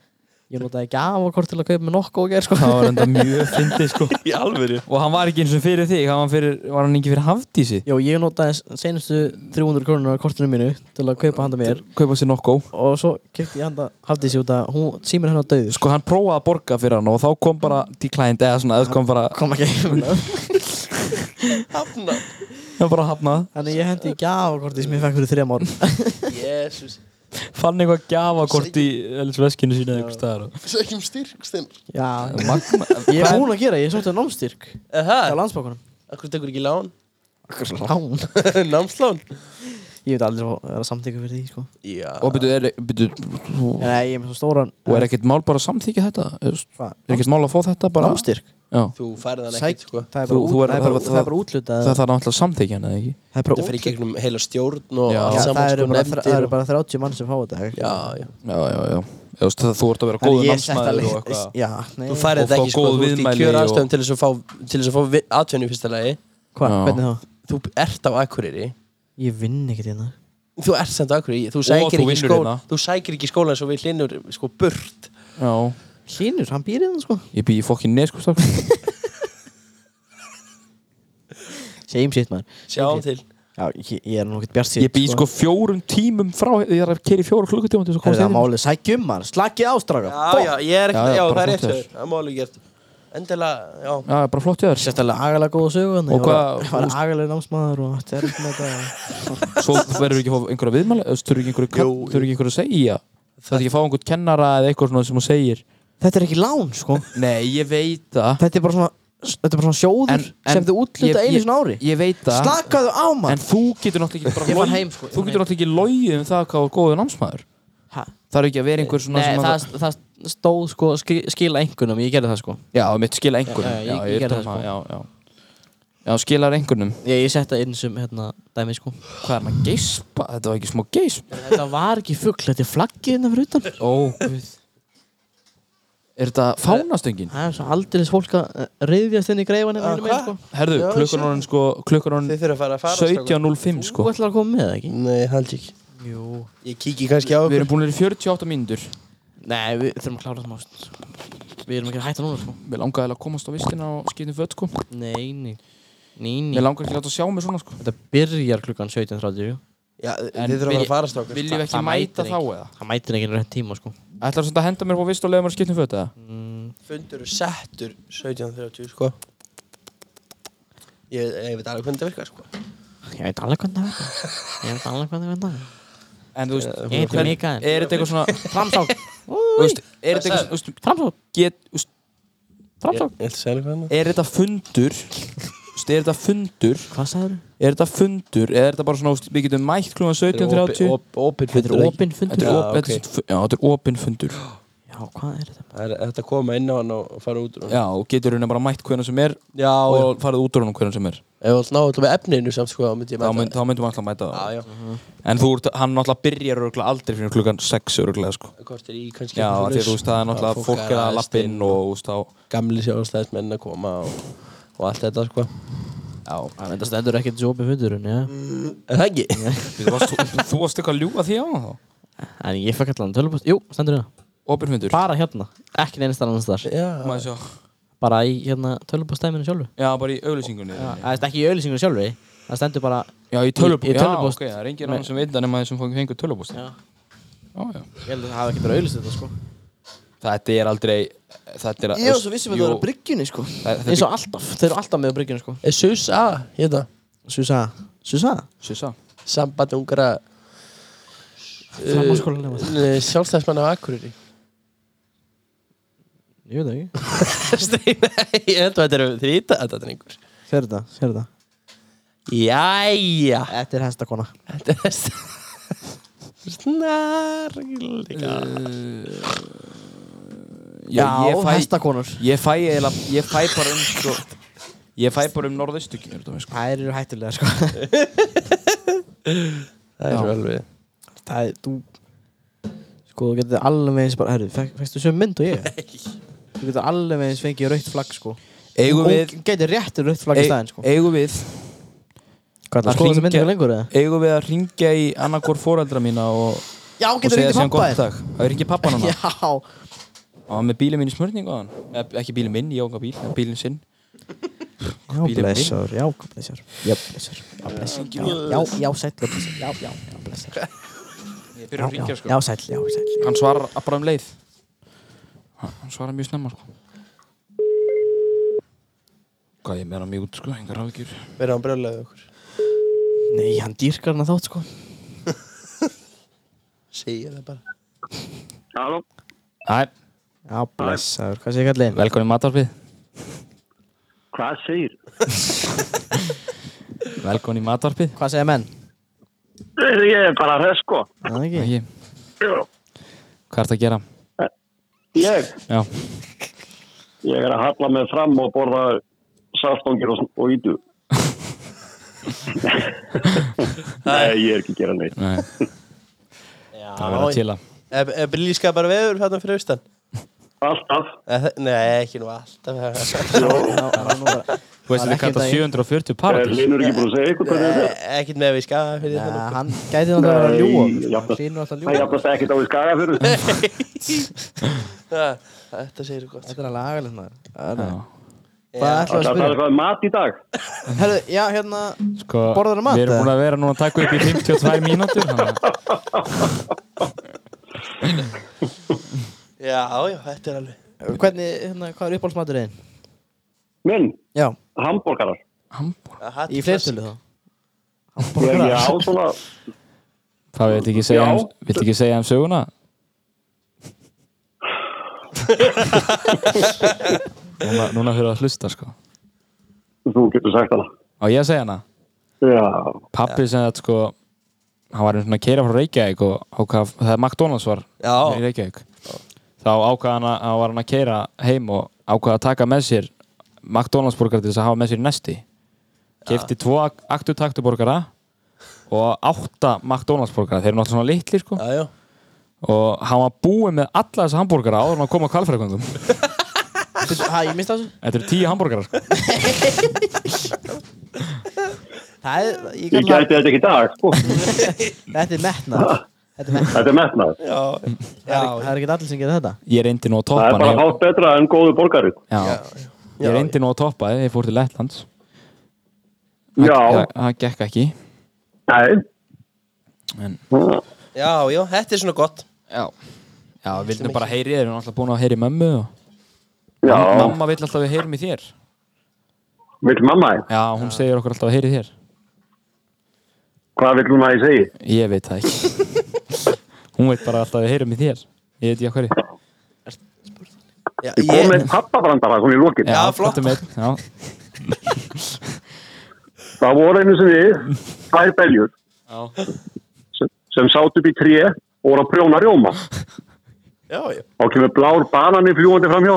Speaker 3: Ég notaði gafakort til að kaupa með nokku og ger sko
Speaker 2: <laughs> Það var enda mjög fyndið sko
Speaker 1: Í alveg
Speaker 2: Og hann var ekki eins og fyrir þig Hann var, fyrir, var hann ekki fyrir hafdísi
Speaker 3: Jó, ég notaði seinustu 300 krónur á kortinu mínu til að kaupa handa mér
Speaker 2: Kaupa sér nokkó
Speaker 3: og svo kefti ég handa haldið sér út að hún símir hennar döðu sko
Speaker 2: Sko hann prófaði að borga fyrir hann Og þá kom bara declined Eða svona, það kom bara
Speaker 3: kom ekki
Speaker 1: Hafna
Speaker 2: Hann bara hafnað
Speaker 3: Þannig ég hendi í gafakorti sem ég fekk fyrir þrejum árum
Speaker 1: Jésús
Speaker 2: Fann eitthvað gjafakort í Ellisveskinu sína eitthvað staðar og-
Speaker 1: Sækjum styrk stinn
Speaker 3: Já,
Speaker 2: Magna
Speaker 3: ég er búin að gera, ég sótti að námstyrk á
Speaker 1: Það,
Speaker 3: landsbókunum
Speaker 1: akkur tekur ekki lán
Speaker 3: Lán
Speaker 1: Námslán
Speaker 3: Ég veit aldrei að vera samtíka fyrir því sko
Speaker 1: Já
Speaker 2: Og byrju, er, byrju, þú-
Speaker 3: Nei, ég er með svo stóran
Speaker 2: og er ekkert mál bara að samþykja þetta? Þú veist,
Speaker 3: Hvað?
Speaker 2: Er ekkert mál að fá þetta bara?
Speaker 3: Námstyrk
Speaker 2: Já
Speaker 1: Þú færði hann
Speaker 3: Sæk-
Speaker 1: ekkert sko
Speaker 3: Það er bara,
Speaker 2: Þú- þú
Speaker 3: út,
Speaker 2: er-
Speaker 3: það er bara,
Speaker 2: það-
Speaker 3: það er bara útlutað
Speaker 2: Það þarf náttúrulega að samþykja hana, eða ekki?
Speaker 3: Það er bara
Speaker 1: Þetta fyrir
Speaker 3: útlutað
Speaker 1: gegnum heila stjórn og
Speaker 2: Já.
Speaker 1: allt
Speaker 3: Já,
Speaker 1: saman
Speaker 3: það eru
Speaker 1: sko
Speaker 3: bara,
Speaker 1: nefndir
Speaker 3: það eru
Speaker 1: og-
Speaker 3: bara 30 mann sem fá þetta ekki?
Speaker 1: Já, já
Speaker 2: Já, já, já. Þú veist, það- þú ert að vera góður námsmaður og eitthvað.
Speaker 3: Já, nei
Speaker 1: Þú færði
Speaker 2: Og
Speaker 1: þetta
Speaker 2: fá
Speaker 1: ekki sko,
Speaker 2: góð
Speaker 1: þú ert í
Speaker 2: viðmæli
Speaker 1: kjör
Speaker 2: og-
Speaker 1: aðstöðum til þess að fá, til þess að fá vi- atvinnu í fyrsta lagi
Speaker 3: Hvað,
Speaker 2: Já.
Speaker 3: hvernig þá?
Speaker 1: Þú ert á Akureyri
Speaker 3: Ég vinn ekkert hérna
Speaker 1: Þú ert samt á Akureyri, þú sækir
Speaker 2: þú
Speaker 1: ekki
Speaker 2: vinnur
Speaker 1: skóla
Speaker 2: hérna.
Speaker 1: Þú sækir ekki skóla eins og við hlinnur sko burt
Speaker 2: Já,
Speaker 3: Hlynur, hann býr hérna sko
Speaker 2: ég býði fokkin neskustafn.
Speaker 3: Same shit maður
Speaker 1: Sjáum
Speaker 3: Ok.
Speaker 1: til
Speaker 3: Já, ég, ég er nú ekkert bjart
Speaker 2: Ég býði sko fjórum tímum frá, ég er að keri fjóru klukkutíma til þess
Speaker 3: Það
Speaker 2: að komast
Speaker 3: er það
Speaker 2: inn.
Speaker 3: málið, sækjum maður, slakið ástráka
Speaker 1: Já, já, ég er
Speaker 2: Já,
Speaker 1: ekkert,
Speaker 2: já,
Speaker 1: já, það
Speaker 2: bara
Speaker 1: er
Speaker 2: flott
Speaker 1: eftir
Speaker 2: hjá
Speaker 1: Það er máli gert Endilega, já
Speaker 2: Já, bara flott í þér.
Speaker 3: Sérstaklega agalega góða sögu hann
Speaker 2: Og hvað-
Speaker 3: Ég var agalega námsmaður og þetta er með þetta
Speaker 2: Svo verður ekki að fá einhverja viðmæli, þú veist, þurfur ekki einhverju kann,
Speaker 1: Jú.
Speaker 2: þurfur ekki einhverju að segja. Það er ekki að fá einhvern kennara eða eitthvað svona sem hún segir.
Speaker 3: Þetta er ekki lán sko
Speaker 2: Nei, ég veit það.
Speaker 3: Þetta er bara svona, þetta er bara svona sjóður
Speaker 2: En- en
Speaker 3: sem þau útluta
Speaker 2: ég-
Speaker 3: einu svona ári
Speaker 2: Ég veit það.
Speaker 3: Slakaðu á
Speaker 2: En
Speaker 3: maður
Speaker 2: þú getur náttúrulega ekki
Speaker 3: Ég
Speaker 2: bara
Speaker 3: fann
Speaker 2: logið-
Speaker 3: heim, sko, ég
Speaker 2: Þú
Speaker 3: fann
Speaker 2: getur náttúrulega ekki logið um það hvað þú er góður námsmaður.
Speaker 3: Ha?
Speaker 2: Það er ekki að vera einhver svona
Speaker 3: Nei,
Speaker 2: sem að...
Speaker 3: það, það stóð sko skri- skila engunum, ég gerði það sko
Speaker 2: Já, mitt skila einhvern.
Speaker 3: Já, já, ég- ég
Speaker 2: er
Speaker 3: gerði
Speaker 2: að
Speaker 3: það, sko.
Speaker 2: tala- Já, já. Já, skilar einhvernum.
Speaker 3: Ég, ég setta inn sem hérna dæmi sko
Speaker 2: Hvað er hann að geispa? Þetta var ekki smá geisp.
Speaker 3: Þetta var ekki fugl, þetta er flaggið innan fyrir utan
Speaker 2: Ó, guð. Er þetta fánastöngin?
Speaker 3: Það er svo aldrei fólk að eh, ryðjast inn í greifan
Speaker 1: Já,
Speaker 3: hérna með
Speaker 1: hvað?
Speaker 3: sko
Speaker 2: Herðu,
Speaker 1: Já, ég sé
Speaker 2: klukkan orðin sko, klukkan
Speaker 1: Þið
Speaker 2: orðin
Speaker 1: þurfa að fara að fara strákar.
Speaker 2: 17.05
Speaker 3: Þú
Speaker 2: sko.
Speaker 3: ætlar að koma með það ekki?
Speaker 1: Nei, held ég ekki
Speaker 3: Jú
Speaker 1: Ég kíki kannski á
Speaker 2: Við
Speaker 1: ykkur
Speaker 2: erum búin að vera í 48 mínútur.
Speaker 3: Nei, við þurfum að klára það mást Við erum ekki að hætta núna sko
Speaker 2: Við langaði eiginlega að komast á vistina og skipnum föt sko.
Speaker 3: Nei, nei Nei, nei
Speaker 2: Við langaði ekki að láta sjá mig svona sko.
Speaker 3: Þetta byrjar klukkan 17.30 jú.
Speaker 1: Já,
Speaker 2: En
Speaker 1: þið þurfa að fara
Speaker 2: vil-
Speaker 1: að fara strákar
Speaker 2: Viljum við
Speaker 3: það
Speaker 2: ekki mæta
Speaker 3: mætir
Speaker 2: þá eða?
Speaker 3: Það mætir ekki rétt tíma sko
Speaker 2: Ætlar þú að henda mér á vist og leiða mér að skipnum föt eða?
Speaker 3: mm,
Speaker 1: Fundur er settur 17.30 sko Ég, ég veit alveg hvernig það virkar sko
Speaker 3: Ég veit alveg hvernig það verður Ég veit alveg hvernig það verður
Speaker 2: En þú veist,
Speaker 3: Ég heiti
Speaker 2: hvern-
Speaker 3: Mikael.
Speaker 2: er þetta eitthvað svona,
Speaker 3: Framsók
Speaker 2: þú veist, er þetta
Speaker 1: sagði-
Speaker 2: eitthvað, þú veist,
Speaker 3: Framsók
Speaker 2: get, þú veist,
Speaker 1: Ég
Speaker 3: Framsók
Speaker 1: ég ætla að segja eitthvað annað
Speaker 2: er þetta fundur, þú veist, er þetta fundur,
Speaker 3: Hvað sagður?
Speaker 2: er þetta fundur, eða er þetta bara svona, þú veist, við getum mætt klúan 17.30,
Speaker 1: Opin
Speaker 3: Þetta
Speaker 1: fundur
Speaker 3: er
Speaker 1: ekki?
Speaker 3: opinn fundur
Speaker 2: þetta er
Speaker 1: Já, ok.
Speaker 2: op- þetta er svona fu- já, þetta er opinn fundur,
Speaker 3: Já, hvað er þetta?
Speaker 1: Það er þetta að koma inn á hann og fara út úr hann
Speaker 2: já, og getur raunar bara mætt hvernig sem er
Speaker 1: Já, og
Speaker 2: og farið út úr honum hvernig sem er,
Speaker 1: ef þú ætla ná alltaf efninu samt sko þá myndi ég
Speaker 2: þá,
Speaker 1: mæta
Speaker 2: mynd, þá myndum við alltaf að mæta
Speaker 1: Já,
Speaker 2: það,
Speaker 1: já,
Speaker 2: en þú, ert- hann náttúrulega byrjar örgulega aldrei fyrir klukkan 6 örgulega, sko.
Speaker 1: kortir í kannski
Speaker 2: Já,
Speaker 1: eitthvað
Speaker 2: af því að þú
Speaker 1: svoleiðis.
Speaker 2: veist, það er
Speaker 1: Já,
Speaker 2: náttúrulega fólk er að
Speaker 1: aðeins
Speaker 2: lappa
Speaker 1: inn
Speaker 2: inn og, þú veist, þá,
Speaker 1: Gamli sjálfstæðismenn að koma og, og allt þetta sko
Speaker 2: já,
Speaker 3: Það þetta stendur ekkert svo opinn fundurinn, já
Speaker 1: Er það ekki?
Speaker 2: Þú varst- þú- <laughs> þú varst eitthvað að ljúga því á þá,
Speaker 3: En ég fekk allan tölvupúst Jú, stendur hérna
Speaker 2: opinn fundur,
Speaker 3: Bara hérna Ekki neynist annars þar
Speaker 1: Já,
Speaker 2: maður sjá.
Speaker 3: Bara í hérna tölvupústæminu sjálfu
Speaker 2: Já, bara í auglýsingunni
Speaker 3: Já, Það er ekki í auðlýsingunum sjálfu Það stendur bara
Speaker 2: Já, í tölvupóst
Speaker 3: Í- í tölvupóst.
Speaker 2: Já, ok, það er engin annan sem veit það nema þeir sem fengur tölvupóst Já,
Speaker 3: Já
Speaker 2: já
Speaker 3: Ég held að það hafi ekki verið auðlýst þetta sko
Speaker 2: Þetta er aldrei Þetta er
Speaker 3: Ég var svo vissum að það var á bryggjunni sko
Speaker 2: Þetta
Speaker 3: Eins og alltaf, þeir eru alltaf með á bryggjunni sko
Speaker 1: Er Susa, hérna,
Speaker 3: Susa Susa?
Speaker 2: Sissa
Speaker 1: samband ungra
Speaker 3: Framhaldsskóla nema það
Speaker 1: sjálfstæðsmann af Akureyri
Speaker 3: Ég veit það ekki
Speaker 1: <laughs> Steina, ég held að þetta eru þrýta þetta er einhver
Speaker 3: Sér þetta, sér þetta
Speaker 1: Jæja
Speaker 3: Þetta er hestakona
Speaker 1: Þetta er þess Snarlíka
Speaker 2: Já, ég fæ
Speaker 3: hestakonur
Speaker 2: Ég fæ eiginlega Ég fæ bara um sko, Ég fæ bara um norðustu kjördum sko.
Speaker 3: Þær eru hættulega sko <laughs>
Speaker 1: Það er
Speaker 2: Já.
Speaker 1: svo alveg
Speaker 3: Það er, þú Sko, þú getur alveg eins bara, herru, fekk- fékkstu sömu mynd og ég? Nei Þú getur alveg eins fengið rautt flagg sko
Speaker 2: Eigum við
Speaker 3: Og getur réttur rautt flagg í staðinn sko
Speaker 2: Eigum við
Speaker 3: Hvað,
Speaker 2: að
Speaker 3: það skoða þessa
Speaker 2: hringja-
Speaker 3: myndið lengur eða?
Speaker 2: Eigum við að ringja í annarkor fórældra mína og,
Speaker 3: Já,
Speaker 2: og
Speaker 3: getur
Speaker 2: segja
Speaker 3: reyndið
Speaker 2: síðan
Speaker 3: pappa
Speaker 2: gott
Speaker 3: þér
Speaker 2: dag Það er ekki pappa hann
Speaker 3: Já,
Speaker 2: Og hann með bílinn minn í smörningu á hann Eða, Ekki bílinn minn, ég ánga bíl en Bílinn sinn
Speaker 3: Já,
Speaker 2: Bílinn
Speaker 3: blessar, já, blessar Já, blessar, já, blessar Já, já, já, sæll, já, blessar Já, já, já, blessar
Speaker 2: <laughs> Ég byrja að ringja sko
Speaker 3: Já, sæll, já, sæll
Speaker 2: Hann svarar bara um leið Hann svarar mjög snemma sko Hvað ég meira mjút sko, engar áhyggjur
Speaker 1: Verður hann brjóðlega okkur
Speaker 3: Nei, hann dýrkar hann að þátt, sko
Speaker 1: Segja það bara
Speaker 5: Halló,
Speaker 2: Æ,
Speaker 3: Já, blessar, hvað segir kallinn?
Speaker 2: velkomin í matarpið
Speaker 5: hvað segir?
Speaker 2: Velkomin í matarpið
Speaker 3: Hvað segir menn?
Speaker 5: Ég er bara hress sko.
Speaker 3: Það er ekki
Speaker 2: Æ, Hvað ertu að gera?
Speaker 5: Ég,
Speaker 2: Já,
Speaker 5: ég er að halla mig fram og borða sástangir og, og ítu. Nei, ég er ekki að gera neitt.
Speaker 2: nei, það verður að chilla
Speaker 1: Er, er brílíska bara veður hérna fyrir austan?
Speaker 5: Alltaf.
Speaker 1: Eh, þe- Nei, ekki nú alltaf <laughs>
Speaker 3: Já, það er nú bara-
Speaker 2: Þú veist
Speaker 3: Það
Speaker 2: að
Speaker 3: er
Speaker 2: þið kallað
Speaker 3: ekki
Speaker 2: 740
Speaker 5: Er
Speaker 2: paradís
Speaker 5: Linur ekki búin að segja ykkur hvernig þetta er?
Speaker 1: Eh, Ekkert með við skaga fyrir
Speaker 3: Já,
Speaker 1: þetta
Speaker 3: Hann gæti náttúrulega að vera að ljúga
Speaker 5: Nei,
Speaker 3: okkur, sko.
Speaker 5: jafnast-
Speaker 3: Hann hlýnur alltaf að
Speaker 5: Það
Speaker 3: ljúga
Speaker 5: jafnast ekkert á í skaga
Speaker 3: <laughs>
Speaker 5: fyrir.
Speaker 1: nokkuð. Þetta segir þú gott
Speaker 3: Þetta er alveg agalegt maður Það er-
Speaker 2: Já.
Speaker 3: Hvað ætlaðu að
Speaker 5: Það er
Speaker 3: spyrja?
Speaker 5: eitthvað mat í dag.
Speaker 3: Herðu, já, hérna
Speaker 2: Sko,
Speaker 3: Borðarðu mat,
Speaker 2: við erum
Speaker 3: eða?
Speaker 2: búin að vera núna að taka upp í 52 mínútur þannig að-
Speaker 1: Já, já, þetta er alveg
Speaker 3: Hvernig, hérna, hvað er uppáhaldsmatur einn?
Speaker 5: Minn,
Speaker 3: Já,
Speaker 5: hambúrgarar.
Speaker 2: Hamborg-
Speaker 1: Það hatt-
Speaker 3: í fleirtölu þá
Speaker 5: Ég ég á svona,
Speaker 2: Það vil ekki segja,
Speaker 5: Já.
Speaker 2: um, vill ekki segja
Speaker 3: <laughs>
Speaker 2: um söguna Núna, núna höfðu að hlusta sko
Speaker 5: þú getur sagt hana.
Speaker 2: Á ég að segja hana
Speaker 5: Já,
Speaker 2: Pappi sem þetta sko Hann var einhvern veginn að keira frá Reykjavík og ákvað, það er McDonalds var í
Speaker 1: Já,
Speaker 2: Reykjavík Þá ákvað hann að hann var hann að keira heim og ákvað að taka með sér McDonalds borgara til þess að hafa með sér í næsti Kefti tvo aktu taktu borgara og átta McDonalds borgara Þeir eru náttúrulega svona litlir sko
Speaker 1: já, já
Speaker 2: og hann var búinn með alla þessa hambúrgara áður en hann kom að kvalfrækvöndum
Speaker 3: Bíddu, Ha, ég mista þessu
Speaker 2: Þetta eru tíu hambúrgarar sko.
Speaker 3: Það er, ég
Speaker 5: ég
Speaker 3: kalla
Speaker 5: gæti þetta ekki í dag.
Speaker 3: <laughs>
Speaker 5: sko.
Speaker 3: Þetta er metnað Þetta er metnað
Speaker 5: Þetta er metnað.
Speaker 1: Já, já,
Speaker 3: Það er- það er ekkert allir sem getur þetta
Speaker 2: Ég reyndi nú að
Speaker 5: Það er
Speaker 2: toppa
Speaker 5: bara
Speaker 2: hann ég,
Speaker 5: hátt betra en góðu borgari.
Speaker 2: já,
Speaker 1: já.
Speaker 2: ég reyndi nú að toppa þið, ég fór til Lettlands Það-
Speaker 5: Já,
Speaker 2: það- Það gekk ekki
Speaker 5: nei.
Speaker 2: En-
Speaker 1: já, já, þetta er svona gott
Speaker 2: Já, já við vildum bara heyri þér við erum alltaf búin að heyri mömmu og...
Speaker 5: Já,
Speaker 2: Mamma vill alltaf að við heyrum í þér
Speaker 5: vill mamma þið?
Speaker 2: Já, hún segir okkur alltaf að heyri í þér
Speaker 5: Hvað vill hún að ég segi?
Speaker 2: Ég veit það ekki <laughs> Hún veit bara alltaf að við heyrum í þér Ég veit ekki að hverju
Speaker 1: Já,
Speaker 5: Ég kom með pappabrandara svona í lokin.
Speaker 1: Já, flott.
Speaker 2: þetta er með- Já,
Speaker 5: Það voru einu sem
Speaker 2: <laughs>
Speaker 5: við, tvær beljur,
Speaker 2: já,
Speaker 5: sem, sem sátt upp í tré og voru að prjóna rjóma.
Speaker 1: já, já
Speaker 5: Þá kemur blár banani fljúandi framhjá.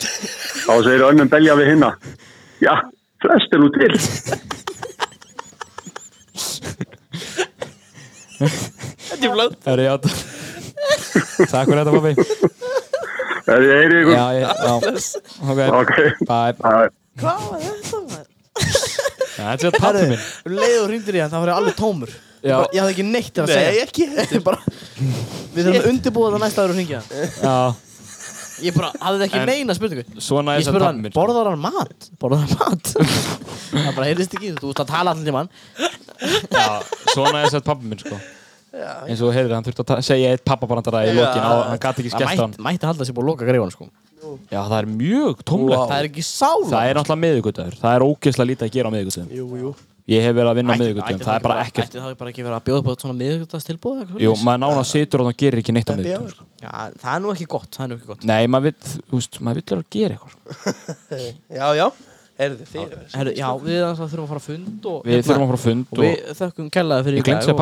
Speaker 5: Þá segir önnum belja við hinna. Já, flest er nú til.
Speaker 1: Þetta er flott
Speaker 2: það eru já Takk fyrir þetta <laughs> pappi
Speaker 5: Er ég heyri ykkur?
Speaker 2: Já, ég, já, ok
Speaker 5: Ok.
Speaker 2: Bye.
Speaker 5: Það er-
Speaker 3: Hvað var þetta maður?
Speaker 2: Ja, Þetta er pappi minn
Speaker 3: Um leið og hringdir í hann, það var ég alveg tómur
Speaker 2: Já.
Speaker 3: Bara- Ég hafði ekki neitt að segja
Speaker 1: Nei, ekki
Speaker 3: Ég bara, Við þurfum að undirbúa það næsta ára og hringja hann.
Speaker 2: Já,
Speaker 3: Ég bara, hafði ekki
Speaker 2: En-
Speaker 3: neina spurningu
Speaker 2: svona
Speaker 3: Ég
Speaker 2: er þetta
Speaker 3: spurði
Speaker 2: pappi
Speaker 3: hann,
Speaker 2: minn sko.
Speaker 3: borðar hann mat? Borðar hann
Speaker 2: <laughs>
Speaker 3: mat? það bara heyrðist ekki, þú ert að tala allir tímann
Speaker 2: Já, svona er þetta pappi minn sko
Speaker 1: Já,
Speaker 2: eins og þú heyrðir, hann þurfti að ta- segja eitt pappabrandara í
Speaker 1: Já.
Speaker 2: lokin og hann gæti ekki
Speaker 3: Það
Speaker 2: skellt hann
Speaker 3: mætti, mætti halda sér búið að loka greiðan sko
Speaker 2: já, það er mjög tómlegt
Speaker 1: Vá.
Speaker 3: Það er ekki sála
Speaker 2: það er náttúrulega miðugutöður, það er ógeðslega lítið að gera á miðugutöðum
Speaker 1: jú, jú
Speaker 2: ég hef verið að vinna á miðugutöðum, það er bara ekkert
Speaker 3: Ætti það bara ekki verið að bjóða upp á svona miðugtastilbúð
Speaker 2: jú, maður nána situr og það gerir ekki neitt á
Speaker 1: Já,
Speaker 2: miðugutöðum
Speaker 3: Já, það er nú ekki gott, það er nú ekki gott
Speaker 2: nei, maður vill, þú veist, maður vill vera að gera eitthvað sko.
Speaker 1: já, já Herðu þið
Speaker 3: Herru, já, við ætla, þurfum að fara að fund og,
Speaker 2: við þurfum að fara á fund
Speaker 3: og
Speaker 2: og
Speaker 3: við þökkum kellaði fyrir
Speaker 2: ég glemt
Speaker 3: dag
Speaker 2: sér
Speaker 3: og-